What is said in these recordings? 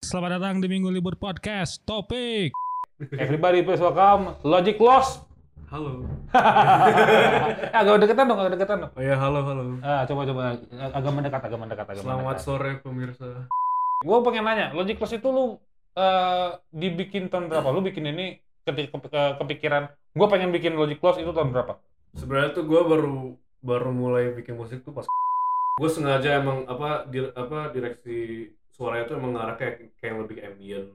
selamat datang di Minggu Libur Podcast. Topik. Everybody please welcome Logic Loss. Halo. agak deketan dong, agak deketan dong. Oh ya, halo, halo. Ah, coba coba agak mendekat, agak mendekat, agak Selamat mendekat. sore pemirsa. Gue pengen nanya, Logic Loss itu lu eh, dibikin tahun berapa? Lu bikin ini ketika ke- kepikiran gue pengen bikin Logic Loss itu tahun berapa? Sebenarnya tuh gue baru baru mulai bikin musik tuh pas gue sengaja emang apa di, apa direksi suaranya tuh emang ngarah kayak kayak yang lebih ambient,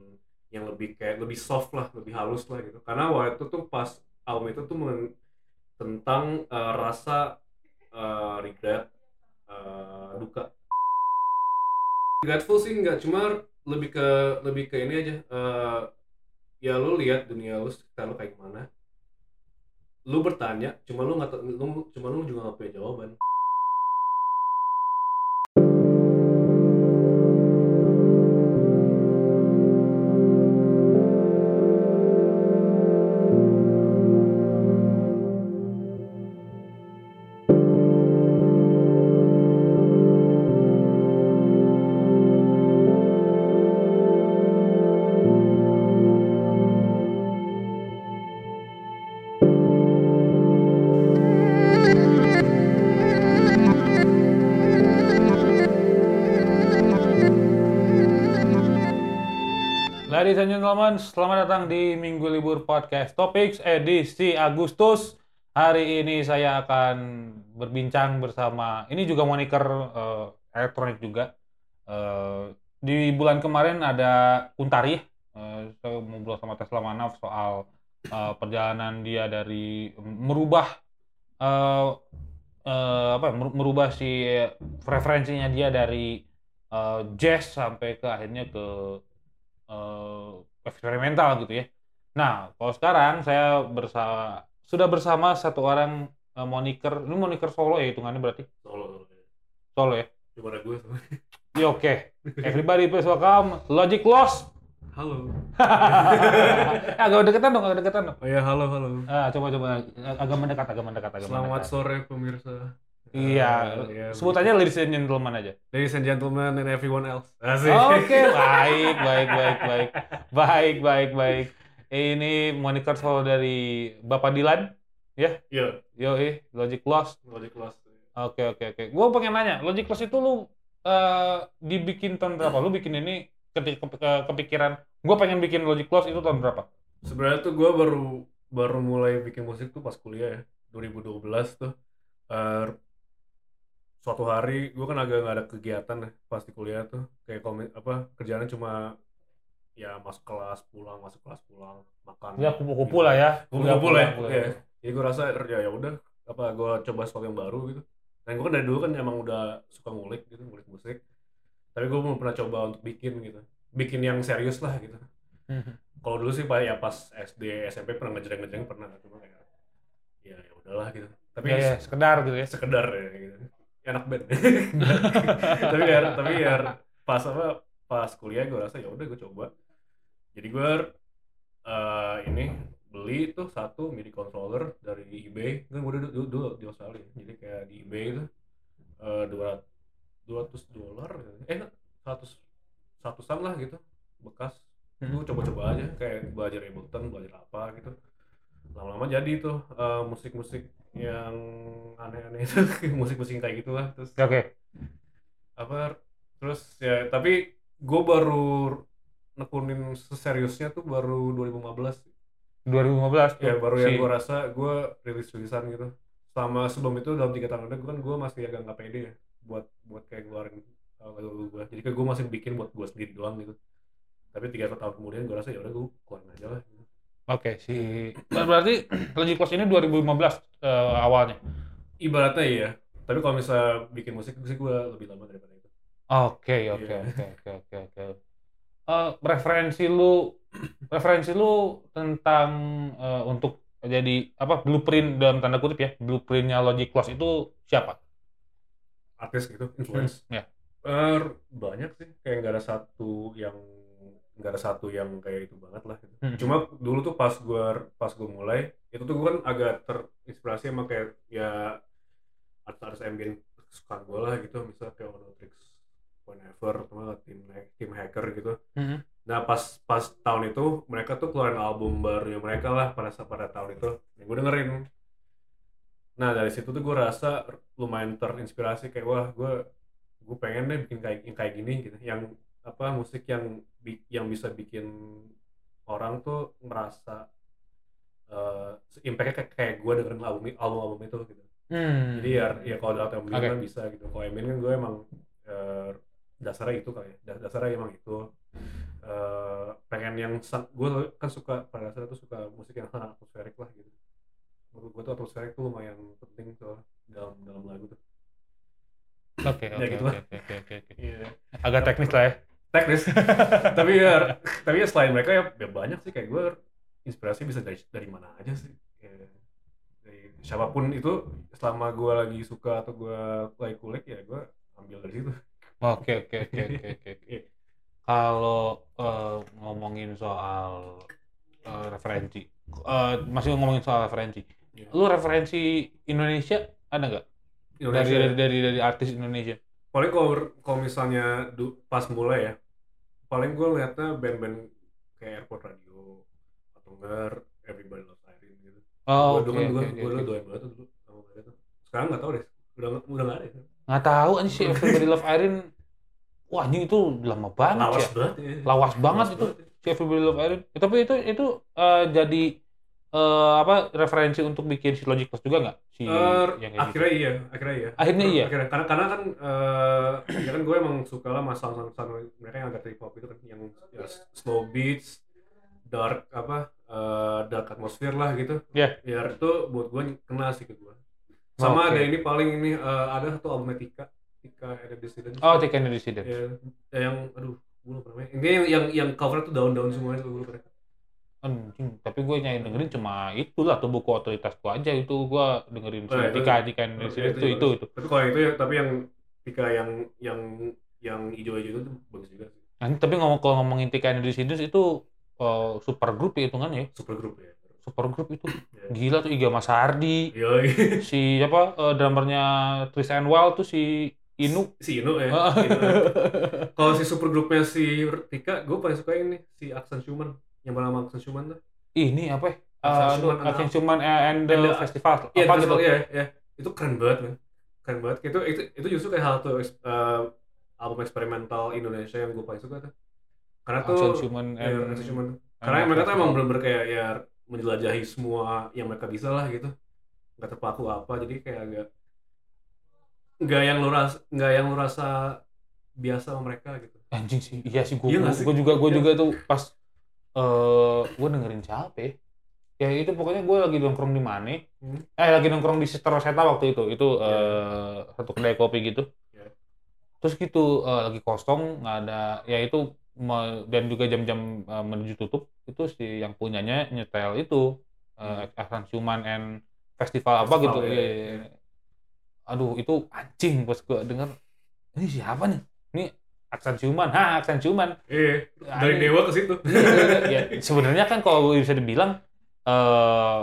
yang lebih kayak lebih soft lah, lebih halus lah gitu. Karena waktu itu tuh pas album itu tuh men- tentang eh, rasa eh, regret, eh, duka. Grateful sih nggak cuma lebih ke lebih ke ini aja. eh, ya lu lihat dunia lu sekitar lu kayak gimana lu bertanya cuma lu nggak tau- lu cuma lu juga nggak punya jawaban Ladies and gentlemen, selamat datang di Minggu Libur Podcast Topics edisi Agustus. Hari ini saya akan berbincang bersama, ini juga moniker eh, elektronik juga. Eh, di bulan kemarin ada Kuntari, eh, saya mau ngobrol sama Tesla Manaf soal eh, perjalanan dia dari merubah eh, eh, apa ya, mer- merubah si preferensinya dia dari eh, jazz sampai ke akhirnya ke eh, eksperimental gitu ya. Nah, kalau sekarang saya bersama sudah bersama satu orang eh, moniker, ini moniker solo ya hitungannya berarti solo solo. solo ya. cuma ada gue sama Ya oke. Everybody please welcome Logic Loss. halo agak deketan dong, agak deketan dong. oh ya halo halo Ah, coba coba agak mendekat, agak mendekat, agak selamat mendekat. sore pemirsa Iya, Eh, ya, sebut aja ladies and gentlemen aja. ladies and gentlemen and everyone else asik Oke, baik, baik, baik, baik, baik, baik, baik. Ini moniker solo dari Bapak Dilan, iya yo Logic Loss. logic loss Oke oke oke. Gue pengen nanya, Logic Loss itu lu eh, dibikin tahun berapa? Lu bikin ini ketika ke- kepikiran, gue pengen bikin Logic Loss itu tahun berapa? sebenarnya tuh gue baru baru mulai bikin musik tuh pas kuliah ya 2012 tuh Eh, suatu hari gue kan agak nggak ada kegiatan ya pas di kuliah tuh kayak komi- apa kerjaannya cuma ya masuk kelas pulang masuk kelas pulang makan Ya kupu-kupu lah ya. Kupu-kupu lah ya, ya. iya. jadi gue rasa ya ya udah apa gue coba sesuatu yang baru gitu dan gue kan dari dulu kan emang udah suka ngulik gitu ngulik musik tapi gue belum pernah coba untuk bikin gitu bikin yang serius lah gitu Hmm. kalau dulu sih pak ya pas SD SMP pernah ngejreng ngejreng pernah cuma kayak ya ya udahlah gitu tapi Ya, ya, sekedar gitu ya. sekedar ya gitu enak banget tapi ya tapi ya pas apa pas kuliah gue rasa ya udah gue coba jadi gue eh, ini beli tuh satu MIDI controller dari eBay kan gue dulu, dulu, dulu di Australia jadi kayak di eBay itu eh, dua ratus dolar eh seratus ratusan lah gitu bekas gue coba-coba aja kayak belajar Ableton belajar apa gitu lama-lama jadi tuh eh, musik-musik yang aneh-aneh itu musik-musik yang kayak gitulah terus Oke. apa terus ya tapi gue baru nekunin seseriusnya tuh baru 2015 2015 tuh. ya baru yang Si- gue rasa gue rilis rilisan gitu sama sebelum itu dalam tiga tahun itu gue kan gue masih agak nggak pede ya buat buat kayak ngeluarin uh, lagu gue jadi kayak gue masih bikin buat gue sendiri doang gitu tapi tiga tahun kemudian gue rasa ya udah gue keluarin aja lah gitu. Oke si. Ber- Berarti Logic Loss ini 2015 eh, awalnya. ibaratnya iya tapi kalau misalnya bikin musik sih gue lebih lama daripada itu Oke oke Iya. oke oke oke oke. Eh, referensi lu referensi lu tentang eh, untuk jadi apa blueprint dalam tanda kutip ya blueprintnya Logic Loss itu siapa? artis gitu influence Hmm, ya. Er, banyak sih kayak nggak ada satu yang nggak ada satu yang kayak itu banget lah gitu. Hmm. cuma dulu tuh pas gua pas gua mulai itu tuh gua kan agak terinspirasi sama kayak ya artis-artis ambient kesukaan gua lah gitu misal kayak Ono Tricks whenever sama tim tim hacker gitu Mhm. nah pas pas tahun itu mereka tuh keluarin album barunya mereka lah pada sa- pada tahun itu yang gue dengerin nah dari situ tuh gue rasa lumayan terinspirasi kayak wah gue gue pengen deh bikin kayak yang kayak gini gitu yang apa musik yang bi- yang bisa bikin orang tuh merasa eh impact-nya kayak, kayak gue dengerin album album album itu gitu Hmm. jadi ya, ya kalau dalam Eminem Oke. kan bisa gitu. Kalau Eminem kan gue emang eh, dasarnya itu kali ya. Da- Dasarnya emang itu. Eh, pengen yang san- gue kan suka pada dasarnya tuh suka musik yang sangat atmosferik lah gitu. Menurut gue tuh atmosferik tuh lumayan penting tuh dalam dalam lagu tuh. Oke, Ya, oke, gitu oke, lah. oke, oke, oke. Iya. Agak teknis lah ya. Teknis. tapi ya tapi ya selain mereka ya, ya banyak sih kayak gue inspirasi bisa dari dari mana aja sih ya, dari siapapun itu selama gue lagi suka atau gue lagi kulik ya gue ambil dari situ Oke, oke, oke, oke, oke, Iya. oke. Kalau eh, ngomongin soal eh, referensi, eh, masih ngomongin soal referensi. Iya. Lu referensi Indonesia ada nggak? Dari, Indonesia. dari dari dari artis Indonesia. Ya paling kalau kalau misalnya du- pas mulai ya paling gue liatnya band-band kayak Airport Radio atau enggak Everybody Loves Irene gitu Oh, gue oke, dulu gue oke, gue oke, oke. doain banget tuh dulu sama mereka tuh sekarang nggak tahu deh udah nggak- udah nggak ada ya. Nggak tahu anjing si Everybody Love Irene. Wah, anjing itu lama banget lawas ya. banget ya. Lawas banget itu. ya. si Everybody Love Irene. Eh, tapi itu itu eh, jadi eh, apa referensi untuk bikin si Logic Plus juga nggak? Si Eh, yang kayak gitu. akhirnya iya akhirnya iya Akhirnya iya? akhirnya karena karena kan eh, ya kan gue emang suka lah mas sound sound mereka yang agak trip hop itu kan yang ya, slow beats dark apa eh, dark atmosphere lah gitu Iya. ya itu buat gue kena sih ke gue sama Oke. ada ini paling ini eh, ada satu albumnya Tika Tika ada Dissident Oh, Take Another Dissident. ya, ya yang aduh gue lupa namanya ini yang yang, yang cover tuh daun daun semuanya tuh gue lupa Anjing, tapi gue nyanyi dengerin cuma itulah tuh buku otoritasku aja itu gue dengerin si Oh, itu- Tika Tika and itu- Dissident itu itu itu bagus. itu. tapi kalau yang itu ya tapi yang Tika yang yang yang hijau-hijau itu tuh bagus juga sih Nah, tapi ngomong kalau ngomongin Tika and Dissident itu eh, super grup ya hitungannya ya. super grup ya Super grup itu Ya. gila tuh Iga Mas Hardi, Yoi. si apa eh, drummernya Twist and Wild tuh si Inu. si Inu ya. Ah. Inu. Kalau si super grupnya si Tika, gue paling suka ini si Aksan Schumann yang malam sama Aksan Schumann tuh. Ini apa ya? Action Eh, Schumann and- Action Schumann and the and the- Festival. Iya, Apa itu gitu? iya, iya. Itu keren banget kan. Keren banget. Itu itu, itu justru kayak hal tuh eh, album eksperimental Indonesia yang gue paling suka tuh. Karena tuh Action Schumann iya, and Aksan Schumann. and Karena mereka tuh Festival. emang bener-bener kayak ya menjelajahi semua yang mereka bisa lah gitu. Gak terpaku apa, jadi kayak agak nggak yang lu ras nggak yang lu rasa biasa sama mereka gitu. anjing sih iya sih gue Iya nggak sih? gue juga gue Iya. juga tuh pas eh gue dengerin siapa ya ya itu pokoknya gue lagi nongkrong di mana Hmm. eh lagi nongkrong di Sister Rosetta waktu itu itu eh satu kedai kopi gitu Iya. terus gitu eh, lagi kosong nggak ada ya itu me- dan juga jam-jam eh, menuju tutup itu si yang punyanya nyetel itu eh Aksan Schumann and festival, apa Hmm. Festival, gitu iya, Iya, iya, iya. aduh itu anjing pas gue denger ini siapa nih ini Aksan Schumann ha Aksan Schumann Iya, dari Aneh. dewa ke situ. Iya. ya, sebenarnya kan kalau bisa dibilang eh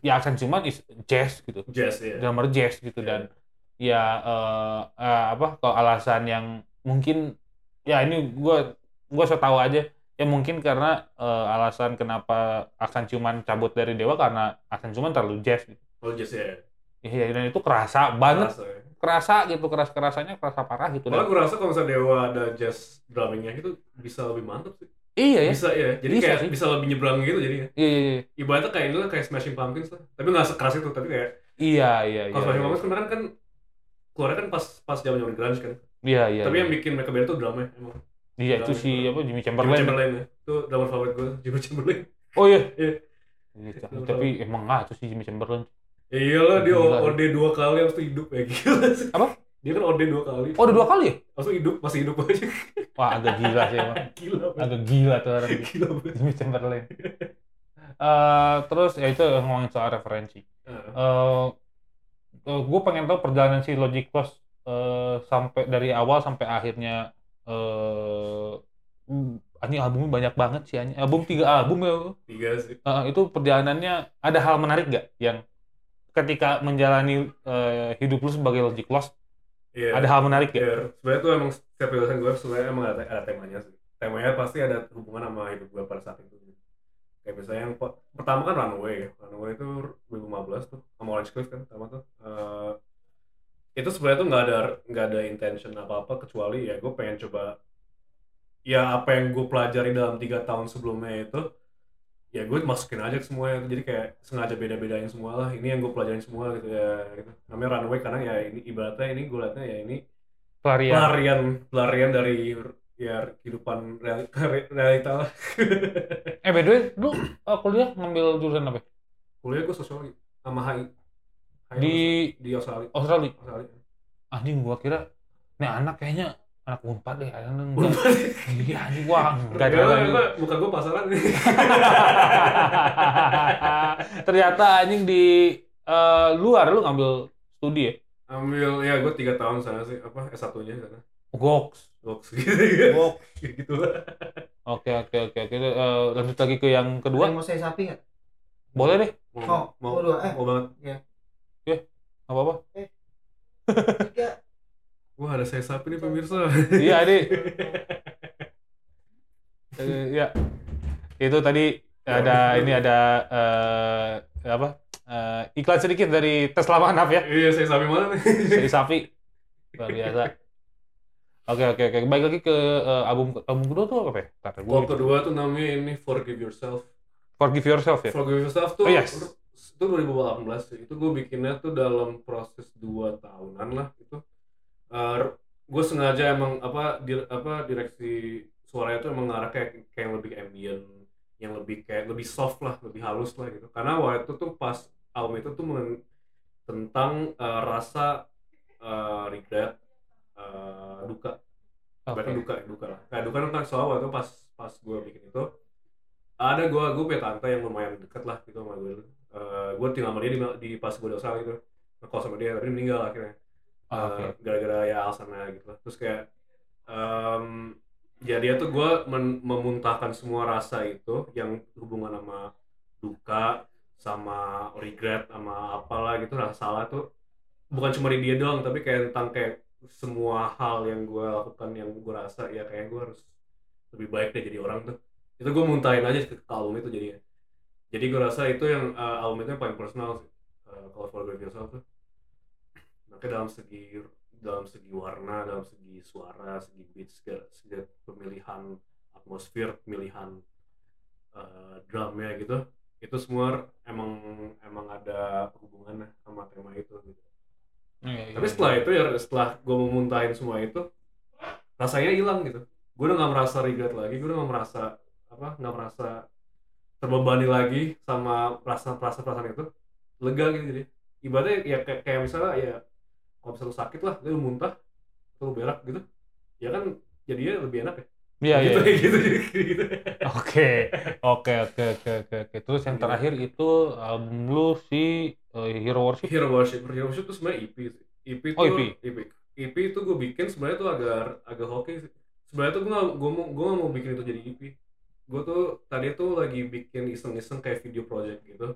ya Aksan Cuman is jazz gitu Jazz ya. drummer jazz gitu dan ya eh, eh, apa kalau alasan yang mungkin ya ini gua gua so tahu aja ya mungkin karena eh, alasan kenapa Aksan Cuman cabut dari Dewa karena Aksan Cuman terlalu jazz gitu. Kalau jazz ya. Iya dan itu kerasa banget Rasa ya. kerasa gitu keras kerasanya kerasa parah gitu Malah dan, gue rasa kalau misalnya dewa ada jazz drummingnya itu bisa lebih mantap sih. iya ya Bisa ya. Jadi Bisa kayak sih. bisa lebih nyebrang gitu jadinya. iya iya iya Ibaratnya kayak inilah kayak Smashing Pumpkins lah. Tapi nggak sekeras itu. Tapi kayak iya iya kalau Smashing iya Pumpkins kemarin kan keluarnya kan pas pas zaman zaman grunge kan. iya iya tapi iya. yang bikin mereka beda tuh drumnya emang. Iya itu si apa Jimmy Chamberlain. Jimmy Chamberlain ya. Itu drummer favorit gue, Jimmy Chamberlain. Oh iya. Iya. Iya, tapi emang nggak tuh si Jimmy Chamberlain. Ya iyalah dia Gila. OD dua kali habis itu hidup ya gila sih. Apa? Dia kan OD dua kali. Oh udah dua kali ya? Habis itu hidup, masih hidup aja. Wah agak gila sih emang. gila banget. Agak gila tuh orang Gila banget. Jimmy Chamberlain. Eh, terus ya itu ngomongin soal referensi. Ah. Eh gue pengen tahu perjalanan si Logic Plus eh, sampai dari awal sampai akhirnya eh uh, ini albumnya banyak banget sih anjing. Album tiga album ya. tiga sih Uh, itu perjalanannya ada hal eh, menarik nggak yang ketika menjalani uh, hidup lu sebagai logic loss Iya. Ada hal menarik ya? Iya, sebenarnya tuh emang setiap tulisan gue sebenarnya emang ada, ada temanya sih. Temanya pasti ada hubungan sama hidup gue pada saat itu. Kayak misalnya yang pe- pertama kan Runaway ya. Runaway itu 2015 tuh sama Orange Cliff kan pertama tuh. Eh, itu sebenarnya tuh nggak ada nggak ada intention apa apa kecuali ya gue pengen coba ya apa yang gue pelajari dalam tiga tahun sebelumnya itu ya gue masukin aja ke semuanya jadi kayak sengaja beda-bedain semua lah ini yang gue pelajarin semua gitu ya gitu. namanya runaway karena ya ini ibaratnya ini gue liatnya ya ini pelarian pelarian pelarian dari ya kehidupan real- re- realita lah eh by the way lu eh, kuliah ngambil jurusan apa kuliah gue sosiologi sama HI, HI di di Australia Australia Australia anjing gua kira nih anak kayaknya anak unpad deh anak Gua- enggak iya anjing wah enggak Gak jalan ada muka gue pasaran nih ternyata anjing di eh, luar lu ngambil studi ya ambil ya gue tiga tahun sana sih apa S satunya sana goks Goks gitu goks gitu lah oke oke oke oke Eh, lanjut lagi ke yang Ada kedua yang mau saya sapi nggak? boleh deh Oh, mau mau, mau dua, eh. mau banget nggak apa-apa Tiga. wah ada saya sapi nih pemirsa iya ini Eh, ya itu tadi ada ini ada eh, apa Eh, iklan sedikit dari Tesla Manaf ya iya saya sapi mana nih dari Safi luar biasa oke oke oke baik lagi ke eh, album album kedua tuh apa ya Ntar, gua- Gua kedua tuh namanya ini Forgive Yourself Forgive Yourself ya Forgive Yourself tuh Oh, yes. itu 2018 sih. itu gue bikinnya tuh dalam proses dua tahunan lah gitu. itu gue sengaja emang apa dir- apa direksi suaranya tuh emang ngarah kayak kayak yang lebih ambient yang lebih kayak lebih soft lah lebih halus lah gitu karena waktu itu tuh pas album itu tuh men- tentang eh, rasa eh, regret eh, duka Oke. bahkan duka duka lah nah, duka tentang soal waktu pas pas gue bikin itu ada gue gue punya tante yang lumayan deket lah gitu sama gue gue tinggal sama dia di, di pas gue di Australia gitu ngekos sama dia tapi dia meninggal akhirnya Eh, Ah, Oke. gara-gara ya alasannya gitu lah terus kayak em ya dia tuh gue men- memuntahkan semua rasa itu yang hubungan sama duka sama regret sama apalah gitu rasa salah tuh bukan cuma di dia doang tapi kayak tentang kayak semua hal yang gue lakukan yang gue rasa ya kayak gue harus lebih baik deh jadi orang tuh itu gue muntahin aja ke ke album itu jadinya jadi gue rasa itu yang eh, album itu yang paling personal sih eh, kalau Forgive Yourself tuh makanya dalam segi dalam segi warna dalam segi suara segi beat segala, segala pemilihan atmosfer pemilihan eh, drumnya gitu itu semua emang emang ada hubungannya sama tema itu gitu. Iya, iya, Tapi iya. setelah itu ya setelah gue memuntahin semua itu rasanya hilang gitu. Gue udah nggak merasa regret lagi, gue udah nggak merasa apa nggak merasa terbebani lagi sama perasaan perasaan perasaan itu lega gitu jadi ibaratnya ya kayak, kayak misalnya ya kalau misalnya lu sakit lah lu muntah atau lu berak gitu ya kan jadinya lebih enak ya Iya, iya. gitu, gitu gitu gitu oke oke oke oke oke oke. terus yang Iya. terakhir itu album lu si eh, Hero Worship Hero Worship Hero Worship itu sebenarnya EP sih. E EP itu Oh, EP. EP EP E itu gue bikin sebenarnya tuh agak agak hoki sih sebenarnya tuh gue gak, gue mau gue gak mau bikin itu jadi EP gue tuh tadi tuh lagi bikin iseng-iseng kayak video project gitu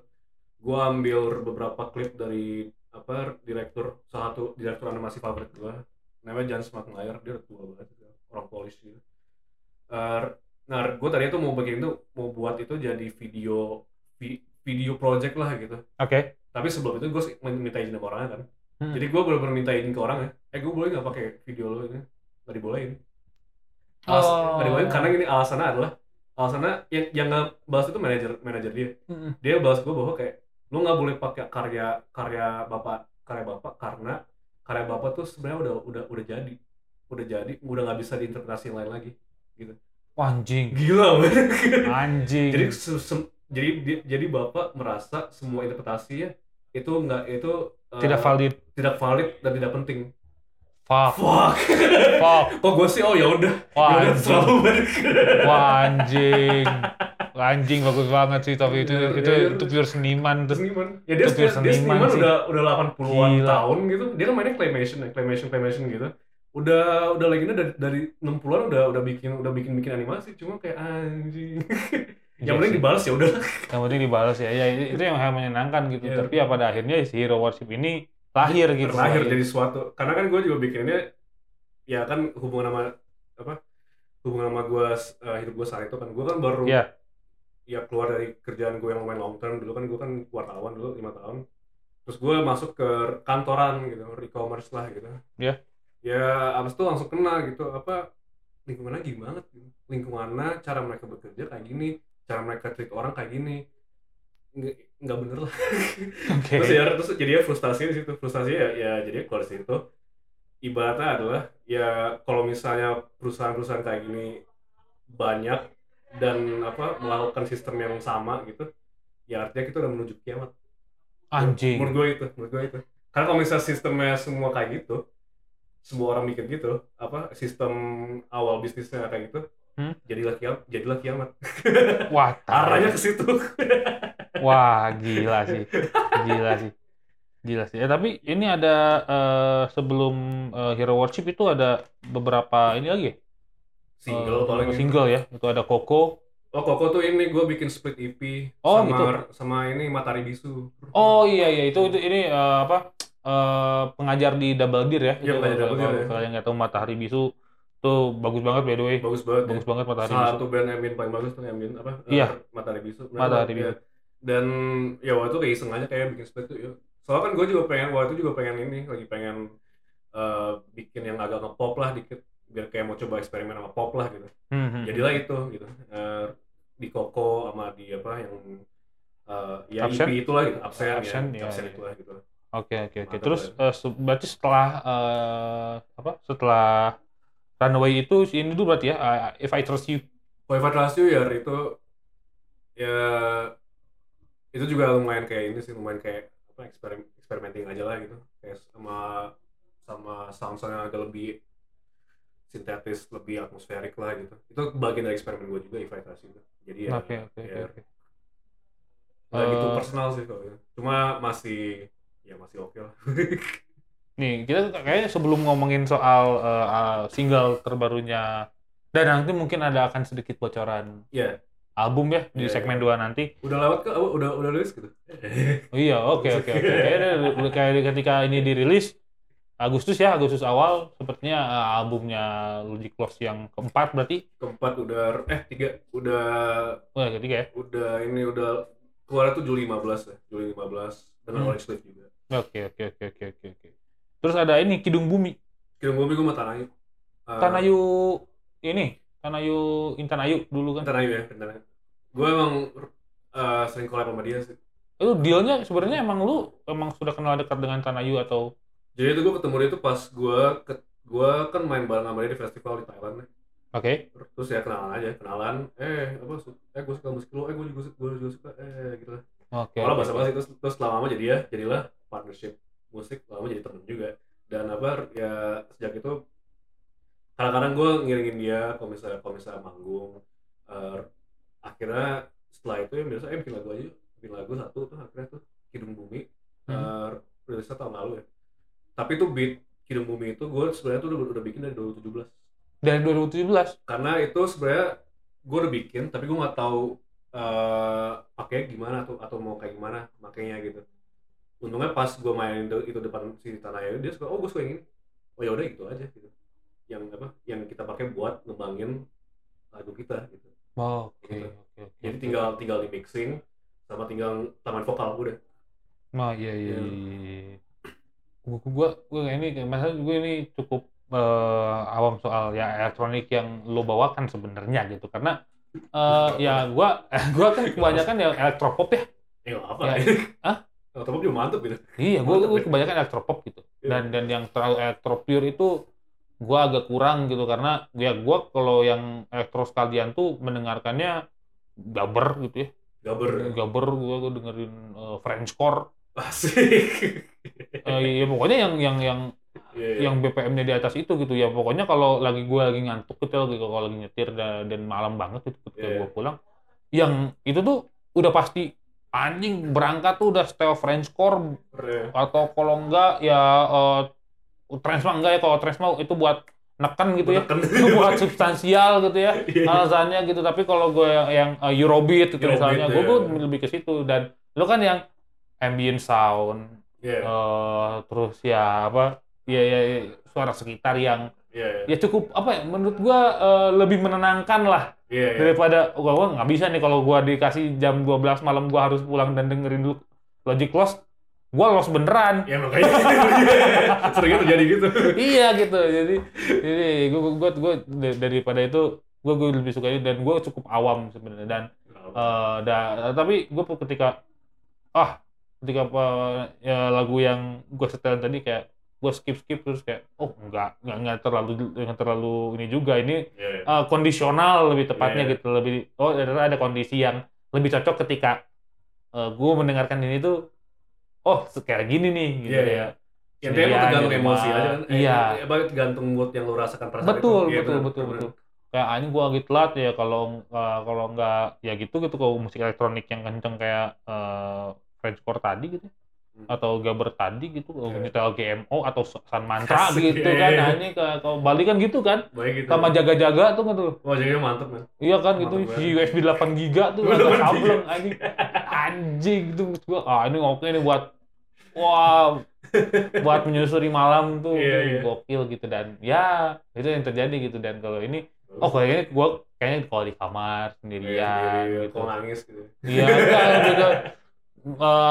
gue ambil beberapa klip dari apa direktur salah satu direktur animasi favorit gue namanya Jan Smakmayer dia udah tua banget dia orang Polish gitu Eh, nah gue tadi tuh mau bikin itu mau buat itu jadi video vi- video project lah gitu oke tapi sebelum itu gue minta izin sama orangnya kan Hmm. jadi gue bener-bener minta izin ke orangnya eh gue boleh nggak pakai video lo ini nggak dibolehin Alas, Oh. nggak dibolehin karena ini alasannya adalah alasannya yang yang nggak bahas itu manajer manajer dia Mm-mm. dia bahas gue bahwa kayak lo nggak boleh pakai karya karya bapak karya bapak karena karya bapak tuh sebenarnya udah udah udah jadi udah jadi udah nggak bisa diinterpretasi lain lagi Wah, anjing gila banget anjing jadi se- se- jadi di- jadi bapak merasa semua interpretasinya itu nggak itu eh, tidak valid tidak valid dan tidak penting fuck fuck fuck kok gue sih oh ya udah wah ya udah anjing selalu balik wah anjing anjing bagus banget sih tapi itu Iya, itu iya. itu pure seniman tuh seniman ya dia, Itu dia, dia seniman seniman sih. udah udah 80-an Gila. tahun gitu dia kan mainnya claymation ya claymation claymation gitu udah udah legenda dari dari 60-an udah udah bikin udah bikin bikin animasi cuma kayak anjing Iya yang penting sih. dibalas ya udah yang penting dibalas ya ya itu yang menyenangkan gitu Iya. tapi ya pada akhirnya si hero worship ini lahir gitu. terlahir lahir. jadi sesuatu karena kan gue juga bikinnya ya kan hubungan sama apa hubungan sama gue hidup gue saat itu kan gue kan baru Iya. ya keluar dari kerjaan gue yang lumayan long term dulu kan gue kan wartawan dulu lima tahun terus gue masuk ke kantoran gitu e-commerce lah gitu Iya. ya abis itu langsung kena gitu apa lingkungannya gimana banget gitu. lingkungannya cara mereka bekerja kayak gini cara mereka treat orang kayak gini nggak nggak bener lah Oke. terus ya terus jadinya frustasi di situ frustasi ya ya jadi keluar dari situ ibaratnya adalah ya kalau misalnya perusahaan-perusahaan kayak gini banyak dan apa melakukan sistem yang sama gitu ya artinya kita udah menuju kiamat Anjing. menurut gue itu menurut gue itu karena kalau misalnya sistemnya semua kayak gitu semua orang bikin gitu apa sistem awal bisnisnya kayak gitu Hmm? jadilah kiamat jadilah kiamat Wah, tai. arahnya ke situ Wah, gila sih. Gila sih. Gila sih. Ya, tapi ini ada eh, sebelum eh, Hero Worship itu ada beberapa ini lagi. ya? Eh, single paling itu. single ya. Itu ada Koko. Oh Koko tuh ini gue bikin split EP Oh, sama gitu. sama ini Matahari Bisu. Oh iya iya itu itu ini eh, apa? eh, pengajar di Double Deer ya. Iya, Itu pengajar kalau- Double Deer kalau ya. Kalian nggak tahu Matahari Bisu tuh bagus banget by the way. bagus banget. ya. Bagus banget Matahari Bisu. Salah satu band Ambient paling bagus tuh Ambient apa? eh, Iya. Matahari Bisu. Mereka Matahari ya. Bisu. Dan ya waktu itu kayak iseng aja kayak bikin split tuh. Yuk. Soalnya kan gue juga pengen waktu itu juga pengen ini lagi pengen eh, bikin yang agak ngepop lah dikit biar kayak mau coba eksperimen sama pop lah gitu. Hmm, hmm. Jadilah itu gitu. Eh, di Koko sama di apa yang eh, ya Absent? EP itulah gitu, absen, Absent, ya, iya, absen iya. itulah gitu. Oke oke oke. Mantap, Terus eh, se- berarti setelah eh, apa? Setelah Runaway itu si ini dulu berarti ya. eh, If I Trust You. Forever Trust You ya itu ya itu juga lumayan kayak ini sih lumayan kayak apa eksperimen experimenting aja lah gitu kayak sama sama sound sound yang agak lebih sintetis lebih atmosferik lah gitu itu bagian dari eksperimen gue juga Forever itu jadi ya Oke oke oke, ya, oke. nggak gitu Eh, personal sih kalau gitu. cuma masih ya masih oke lah Nih, kita kayaknya sebelum ngomongin soal eh, eh, single terbarunya dan nanti mungkin ada akan sedikit bocoran Iya. album ya di Iya, segmen iya. 2 nanti. udah lewat ke udah udah rilis gitu Oh, iya, oke oke oke. Kayaknya udah- kayak ketika ini dirilis Agustus ya, Agustus awal sepertinya eh, albumnya Logic Loss yang keempat berarti. keempat udah eh tiga udah Wah, ketiga ya. udah ini udah keluar tuh Juli 15 ya Juli 15 dengan Hmm. Orange Sleeve juga Oke oke oke oke oke oke. Terus ada ini Kidung Bumi. kirim gue gue sama Tanayu Eh, Tanayu ini, Tanayu Intan Ayu dulu kan. Tanayu ya Tanayu gue emang eh, sering collab sama dia sih Itu dealnya sebenarnya emang lu emang sudah kenal dekat dengan Tanayu atau jadi itu gue ketemu dia tuh pas gue ke gue kan main bareng sama dia di festival di Thailand ya. Oke. terus ya kenalan aja kenalan eh apa su- eh gue suka musik lo eh gue juga suka gue juga suka eh gitu lah Oke. kalau bahasa bahasa itu terus lama-lama jadi ya jadilah partnership musik lama jadi temen juga dan apa ya sejak itu kadang-kadang gue ngiringin dia kalau misalnya kalau misalnya manggung Eh, akhirnya setelah itu yang biasa eh bikin lagu aja yuk. bikin lagu satu tuh akhirnya tuh Kidung Bumi Hmm. Eh, rilisnya tahun lalu ya tapi itu beat Kidung Bumi itu gue sebenarnya tuh udah, udah bikin dari 2017 Dari 2017. karena itu sebenarnya gue udah bikin tapi gue nggak tahu eh pakai gimana atau atau mau kayak gimana makainya gitu untungnya pas gue main de- itu depan si tanah Air, dia suka oh gue suka yang ini oh ya udah gitu aja gitu yang apa yang kita pakai buat ngembangin lagu kita gitu Oh, oke. Gitu. oke, oke. jadi tinggal tinggal di mixing sama tinggal tambahan vokal udah Nah, iya iya. Iya. iya. Gua gua gua kayak ini masa gue ini cukup eh, awam soal ya elektronik yang lo bawakan sebenarnya gitu karena eh, ya gua gua kan kebanyakan yang elektropop ya. ya nggak apa Ya, ya. Hah? Atau juga mantep gitu Ya, Iya, gua gua kebanyakan elektropop gitu. Iya. dan dan yang terlalu elektro pure itu gua agak kurang gitu karena ya gua kalau yang elektro sekalian tuh mendengarkannya gaber gitu ya gaber gaber gua tuh dengerin eh, Frenchcore asik Eh, ya pokoknya yang yang yang Iya, iya. yang BPM-nya di atas itu gitu ya pokoknya kalau lagi gua lagi ngantuk gitu lagi kalau lagi nyetir dan, dan malam banget gitu ketika Iya. gua pulang yang itu tuh udah pasti anjing berangkat tuh udah setel Frenchcore Keren. atau kalau enggak ya eh trans mah enggak ya kalau trans mah itu buat neken gitu ya Menekan. itu buat substansial gitu ya Iya, iya. alasannya gitu tapi kalau gue yang, yang eh, Eurobeat gitu Eurobeat, misalnya gue ya. gue lebih ke situ dan lo kan yang ambient sound Iya, Eh, terus ya apa ya, ya, ya, suara sekitar yang iya, iya. ya cukup apa ya menurut gua eh, lebih menenangkan lah Iya, iya. daripada gua gua nggak bisa nih kalau gua dikasih jam 12 malam gua harus pulang dan dengerin dulu Logic Loss gua loss beneran Ya makanya gitu. Sering terjadi gitu. iya gitu jadi jadi gua gua, gua da- daripada itu gua gua lebih suka ini dan gua cukup awam sebenarnya dan eh, da- tapi gua ketika ah ketika apa ya, lagu yang gua setel tadi kayak gua skip skip terus kayak oh nggak nggak nggak terlalu nggak terlalu ini juga ini Iya, iya. eh, kondisional lebih tepatnya Iya. gitu lebih oh ternyata ada kondisi yang lebih cocok ketika gue mendengarkan ini tuh oh kayak gini nih gitu Iya, ya iya. Intinya emang Sendirian tergantung di rumah. emosi aja kan. Eh, Iya. eh, apa, tergantung buat yang lo rasakan perasaan betul itu. Iya, betul benar, betul benar. betul kayak anjing gue agak telat ya kalau eh, kalau nggak ya gitu gitu kalau musik elektronik yang kenceng kayak eh, Frenchcore tadi gitu Hmm. atau Gabber tadi gitu kalau Iya. nyetel GMO atau San Mantra Asik, gitu iya, kan iya. anjing ke- kalau Bali kan gitu kan Baik gitu. sama jaga-jaga tuh kan tuh Wah, jadinya mantep kan. Iya kan gitu Mantap si banget. USB 8 giga tuh 8 agak giga. sableng anjing. Anjing gitu maksud gua. Ah ini oke nih buat wah buat menyusuri malam tuh Iya, tuh iya. gokil gitu dan ya itu yang terjadi gitu dan kalau ini oh kayaknya gua kayaknya kalau di kamar Iya, sendirian sendiri, gitu. Kalau nangis gitu. Iya enggak juga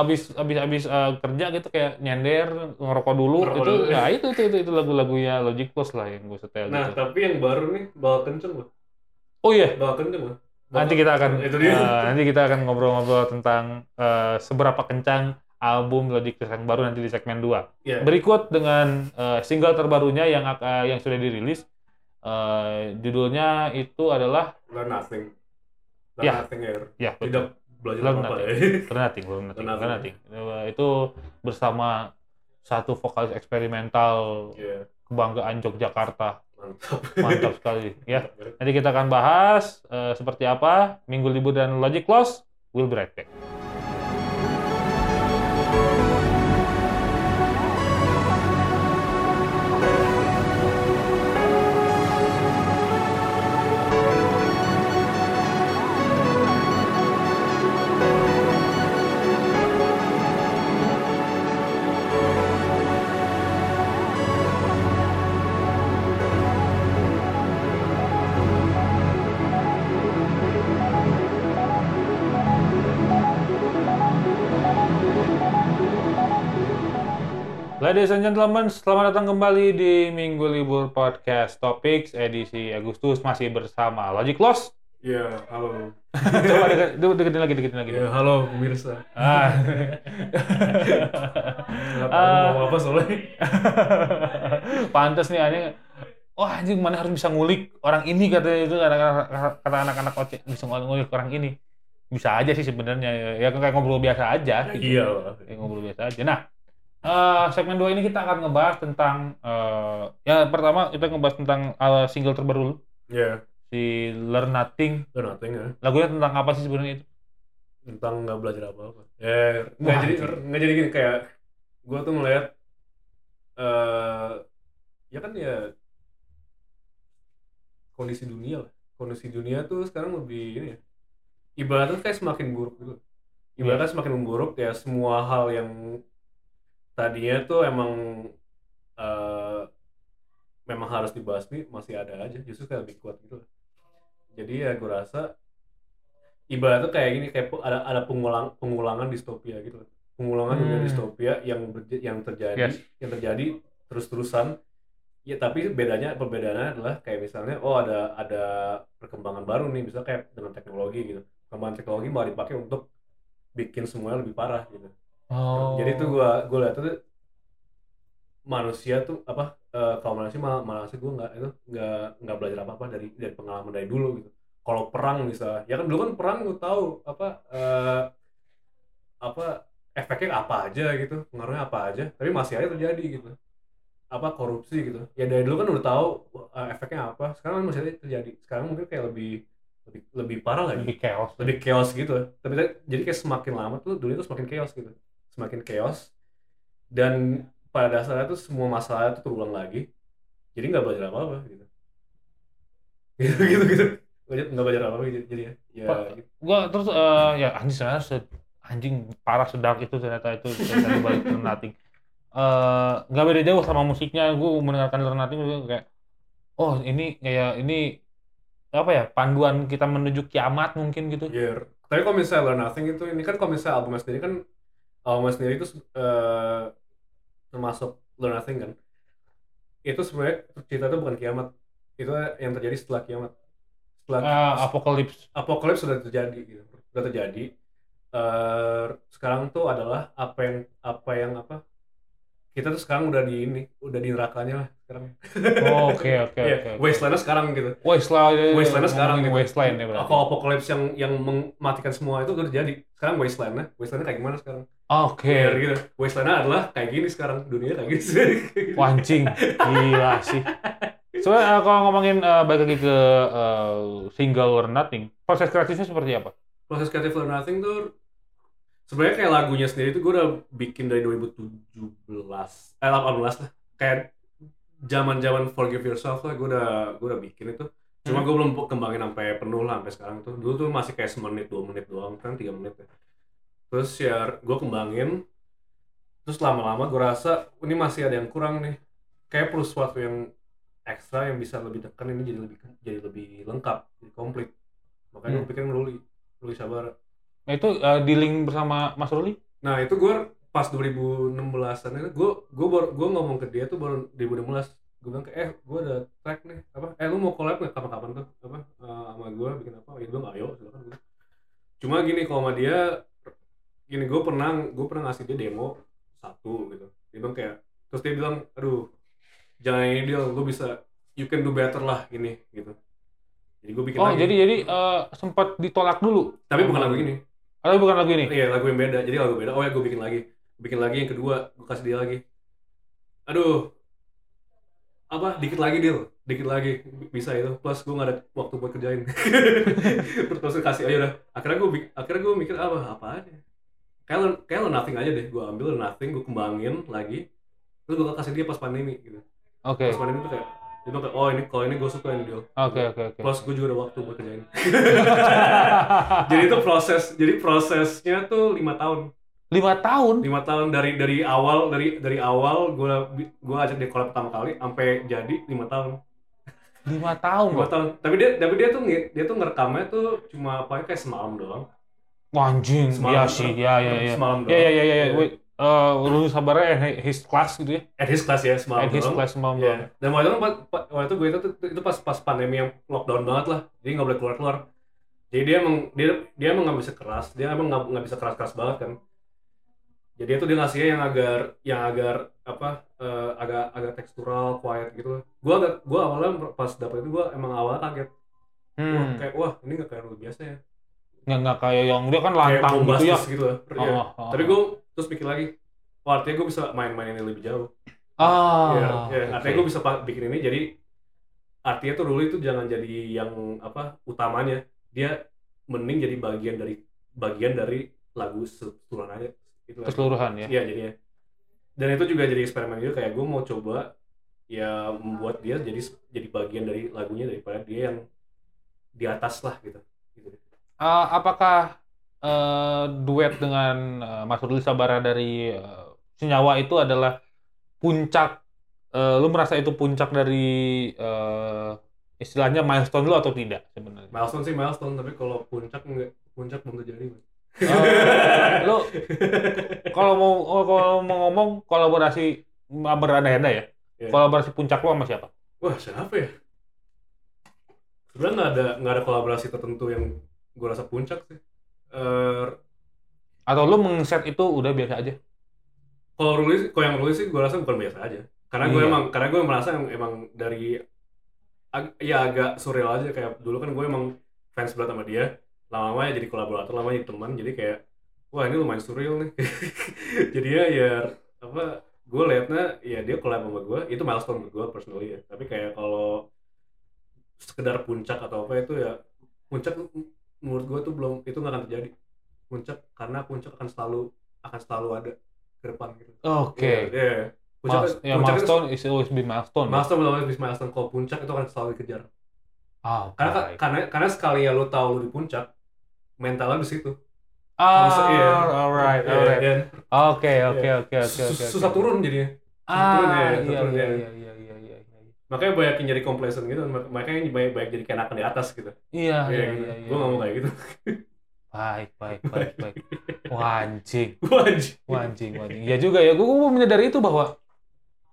abis abis abis eh, kerja gitu kayak nyender ngerokok dulu Ngerokok itu dulu. ya itu itu itu, itu lagu-lagunya Logic Plus lah yang gue setel Nah, gitu. tapi yang baru nih, bawa kenceng loh. Oh iya, Bawa kenceng loh. Bawa- Nanti kita akan Itu dia. eh, nanti kita akan ngobrol-ngobrol tentang eh, seberapa kencang album Logic Plus yang baru nanti di segmen 2. Iya. Berikut dengan eh, single terbarunya yang ak- eh, yang sudah dirilis Eh, judulnya itu adalah Learn nothing. Learn Iya. nothing air. ya Tidak belajar Learn apa-apa ya. Renating, belum Renating, Renating. Renating. Eh, Itu bersama satu vokalis eksperimental Iya, kebanggaan Yogyakarta. mantap. Mantap sekali ya. Nanti kita akan bahas eh, seperti apa Minggu Libur dan Logic Loss. We'll be right back. Ladies and gentlemen, selamat datang kembali di Minggu Libur Podcast Topics edisi Agustus masih bersama Logic Loss. Iya, halo. Coba deket, de- deketin lagi, deketin lagi. Iya, halo pemirsa. Ah. Nggak tahu Ah. mau apa soalnya. Pantes nih aneh. Wah anjing mana harus bisa ngulik orang ini katanya itu kata kata anak-anak OC bisa ngulik orang ini. Bisa aja sih sebenarnya ya kayak ngobrol biasa aja gitu. Iya lah. yang ngobrol biasa aja. Nah, eh, segmen 2 ini kita akan ngebahas tentang eh, ya pertama kita ngebahas tentang eh, single terbaru lu, Iya, si Learn Nothing. learn nothing ya. Lagunya tentang apa sih sebenarnya itu? tentang nggak belajar apa-apa. Ya, nggak Wah, jadi anjing. nggak jadi gini kayak gue tuh ngeliat eh ya kan ya kondisi dunia lah. Kondisi dunia tuh sekarang lebih ini ya. Ibaratnya kayak semakin buruk gitu. Iya. Ibaratnya semakin memburuk ya semua hal yang tadinya tuh emang eh memang harus dibahas nih masih ada aja justru kayak lebih kuat gitu lah. Jadi ya gue rasa ibaratnya kayak gini kayak pe- ada ada pengulang pengulangan distopia gitu loh. pengulangan dunia Hmm. distopia yang berje- yang terjadi Yes. yang terjadi terus terusan ya tapi bedanya perbedaannya adalah kayak misalnya oh ada ada perkembangan baru nih misalnya kayak dengan teknologi gitu perkembangan teknologi malah dipakai untuk bikin semuanya lebih parah gitu jadi Oh. tuh gua gua lihat tuh manusia tuh apa eh kalau manusia malah malah sih gua nggak itu nggak nggak belajar apa apa dari dari pengalaman dari dulu gitu. Kalau perang misalnya, ya kan dulu kan perang gua tahu apa eh apa efeknya apa aja gitu, pengaruhnya apa aja, tapi masih aja terjadi gitu. Apa korupsi gitu. Ya dari dulu kan udah tahu eh, efeknya apa, sekarang kan masih aja terjadi. Sekarang mungkin kayak lebih lebih lebih parah lagi lebih chaos. lebih chaos gitu tapi ta- jadi kayak semakin lama tuh dunia tuh semakin chaos gitu semakin chaos dan pada dasarnya tuh semua masalah tuh terulang lagi jadi nggak belajar apa apa gitu gitu gitu gitu Nggak- nggak belajar apa apa gitu jadi ya Pak, gua terus eh, ya anjing sebenarnya se- anjing parah sedang itu ternyata itu ternyata di balik Learn Nothing. Eh, nggak beda jauh sama musiknya. Gue mendengarkan Learn Nothing gue kayak oh ini kayak ini apa ya panduan kita menuju kiamat mungkin gitu. Year. Ya, Tapi kalau misalnya Learn Nothing itu, ini kan kalau misalnya albumnya sendiri kan, albumnya sendiri itu eh, termasuk Learn Nothing kan, itu sebenarnya cerita itu bukan kiamat, itu yang terjadi setelah kiamat. Setelah Eh, apokalips. apokalips sudah terjadi gitu sudah terjadi Eh, sekarang tuh adalah apa yang apa yang apa kita tuh sekarang udah di ini udah di nerakanya lah sekarang Oh, Oke oke Iya, oke. wastelandnya sekarang gitu Wasteland. ya, wastelandnya sekarang ngomongin gitu Wasteland ya berarti. Kalau apokalips yang yang mematikan semua itu udah terjadi sekarang wastelandnya wastelandnya kayak gimana sekarang Oke. Kayak gitu wastelandnya adalah kayak gini sekarang dunia kayak gini Wancing. Gila sih. Soalnya eh, kalau ngomongin eh, balik lagi ke eh, single or nothing, proses kreatifnya seperti apa? proses kreatif Learn Nothing tuh sebenarnya kayak lagunya sendiri tuh gue udah bikin dari 2017 eh 18 lah kayak zaman zaman forgive yourself lah gue udah gue udah bikin itu cuma gue belum kembangin sampai penuh lah sampai sekarang tuh dulu tuh masih kayak semenit dua menit doang kan tiga menit ya terus ya gue kembangin terus lama-lama gue rasa ini masih ada yang kurang nih kayak perlu sesuatu yang ekstra yang bisa lebih dekat ini jadi lebih jadi lebih lengkap jadi komplit makanya gue pikir ngeruli Ruli Sabara. Nah, itu eh, di link bersama Mas Ruli? Nah itu gue pas 2016an itu gue gue baru gue ngomong ke dia tuh baru 2016 gue bilang ke eh gue ada track nih apa eh lu mau collab nggak kapan-kapan tuh apa eh, sama gue bikin apa ya gue ayo silakan gue cuma gini kalau sama dia gini gue pernah gue pernah ngasih dia demo satu gitu dia bilang kayak terus dia bilang aduh jangan ini dia lu bisa you can do better lah gini gitu jadi gue bikin Oh, lagi jadi jadi eh, sempat ditolak dulu. tapi bukan lagu ini Atau bukan lagu ini? Iya lagu yang beda, jadi lagu beda. Oh ya gue bikin lagi, bikin lagi yang kedua, gue kasih dia lagi. Aduh, apa? Dikit lagi deal, dikit lagi bisa itu. Plus gue nggak ada waktu buat kerjain. Terus terus kasih aja udah. Akhirnya gue bik- akhirnya gue mikir apa? Apa aja? Kayak lo, kayak lo nothing aja deh. Gue ambil lo nothing, gue kembangin lagi. Terus gue kasih dia pas pandemi gitu. Oke. Pas pandemi tuh kayak dia bilang kayak, oh ini kalau ini gue suka ini deal. Oke, oke, oke. Plus gue juga ada waktu buat kerjain. jadi itu proses, jadi prosesnya tuh lima tahun Lima tahun. lima tahun dari dari awal dari dari awal gue gue ajak dia collab pertama kali sampai jadi lima tahun Lima tahun lima loh. tahun tapi dia tapi dia tuh nge- dia tuh ngerekamnya tuh cuma apa ya, kayak semalam doang Wah, Anjing. Iya Semalam. sih, ya ya ya. semalam Ya doang ya ya ya. ya. Wait, eh, Ruli Sabara and his class gitu ya. at his class ya semalam And his doang class mom Iya. dan waktu itu kan pa- pa- waktu itu gue itu itu pas pas pandemi yang lockdown banget lah jadi nggak boleh keluar keluar jadi dia emang dia dia emang nggak bisa keras dia emang nggak nggak bisa keras keras banget kan jadi itu dia ngasihnya yang agar yang agar apa eh, agak agak tekstural quiet gitu gue agak gue awalnya pas dapet itu gue emang awalnya kaget Wah, Hmm. kayak wah ini nggak kayak lagu biasa ya Nggak, nggak kayak yang dia kan kayak lantang gitu ya. bombastis gitu ya, Iya. Oh, oh. tapi gue terus mikir lagi wah artinya gue bisa main-main ini lebih jauh ah, Iya, iya. oke. artinya gue bisa pa- bikin ini jadi artinya tuh dulu itu jangan jadi yang apa utamanya dia mending jadi bagian dari bagian dari lagu keseluruhan aja itu aja. keseluruhan ya. Iya jadinya dan itu juga jadi eksperimen juga kayak gue mau coba ya membuat dia jadi jadi bagian dari lagunya daripada dia yang di atas lah gitu Eh, apakah eh, duet dengan eh, Mas Ruli Sabara dari eh, Senyawa itu adalah puncak eh, lu merasa itu puncak dari eh, istilahnya milestone lu atau tidak sebenarnya? milestone sih milestone tapi kalau puncak enggak puncak belum terjadi Bang. Eh, lu kalau mau oh, kalau mau ngomong kolaborasi berada-ada ya. Iya. Kolaborasi puncak lu sama siapa? Wah siapa ya? Sebenarnya nggak ada nggak ada kolaborasi tertentu yang gue rasa puncak sih. Eh, Atau lu mengset itu udah biasa aja? kalau Ruli, kalau yang Ruli sih gue rasa bukan biasa aja. Karena gue Iya. emang karena gue merasa em- emang dari ag- ya agak surreal aja kayak dulu kan gue emang fans banget sama dia. Lama-lama ya jadi kolaborator, lama jadi teman. Jadi kayak wah ini lumayan surreal nih. Jadinya ya apa gue liatnya ya dia collab sama gue itu milestone buat gue personally ya tapi kayak kalau sekedar puncak atau apa itu ya puncak m- menurut gue tuh belum itu nggak akan terjadi puncak karena puncak akan selalu akan selalu ada ke depan gitu Oke. Iya, iya. puncak Mas- ya, puncak itu- milestone is always be milestone. ya? milestone belum habis milestone kalau puncak itu akan selalu dikejar Ah, karena baik. karena karena sekali ya lo tahu lo di puncak mentalnya di situ Ah, Harus- iya. alright, Iya, alright. iya. Oke, oke, Iya. oke, oke, Sus- oke. susah oke. turun jadinya Ah, turun ya, iya, susah iya, turun iya, ya. iya, iya, iya, iya, iya. makanya banyak yang jadi complacent gitu mak- makanya banyak banyak jadi kenakan di atas gitu Iya, Iya, iya, gitu. iya, iya. gue nggak mau kayak gitu Baik, baik, baik, baik. Wah, anjing. Gua anjing. Wancing, wancing. Ya juga ya. Gue mau menyadari itu bahwa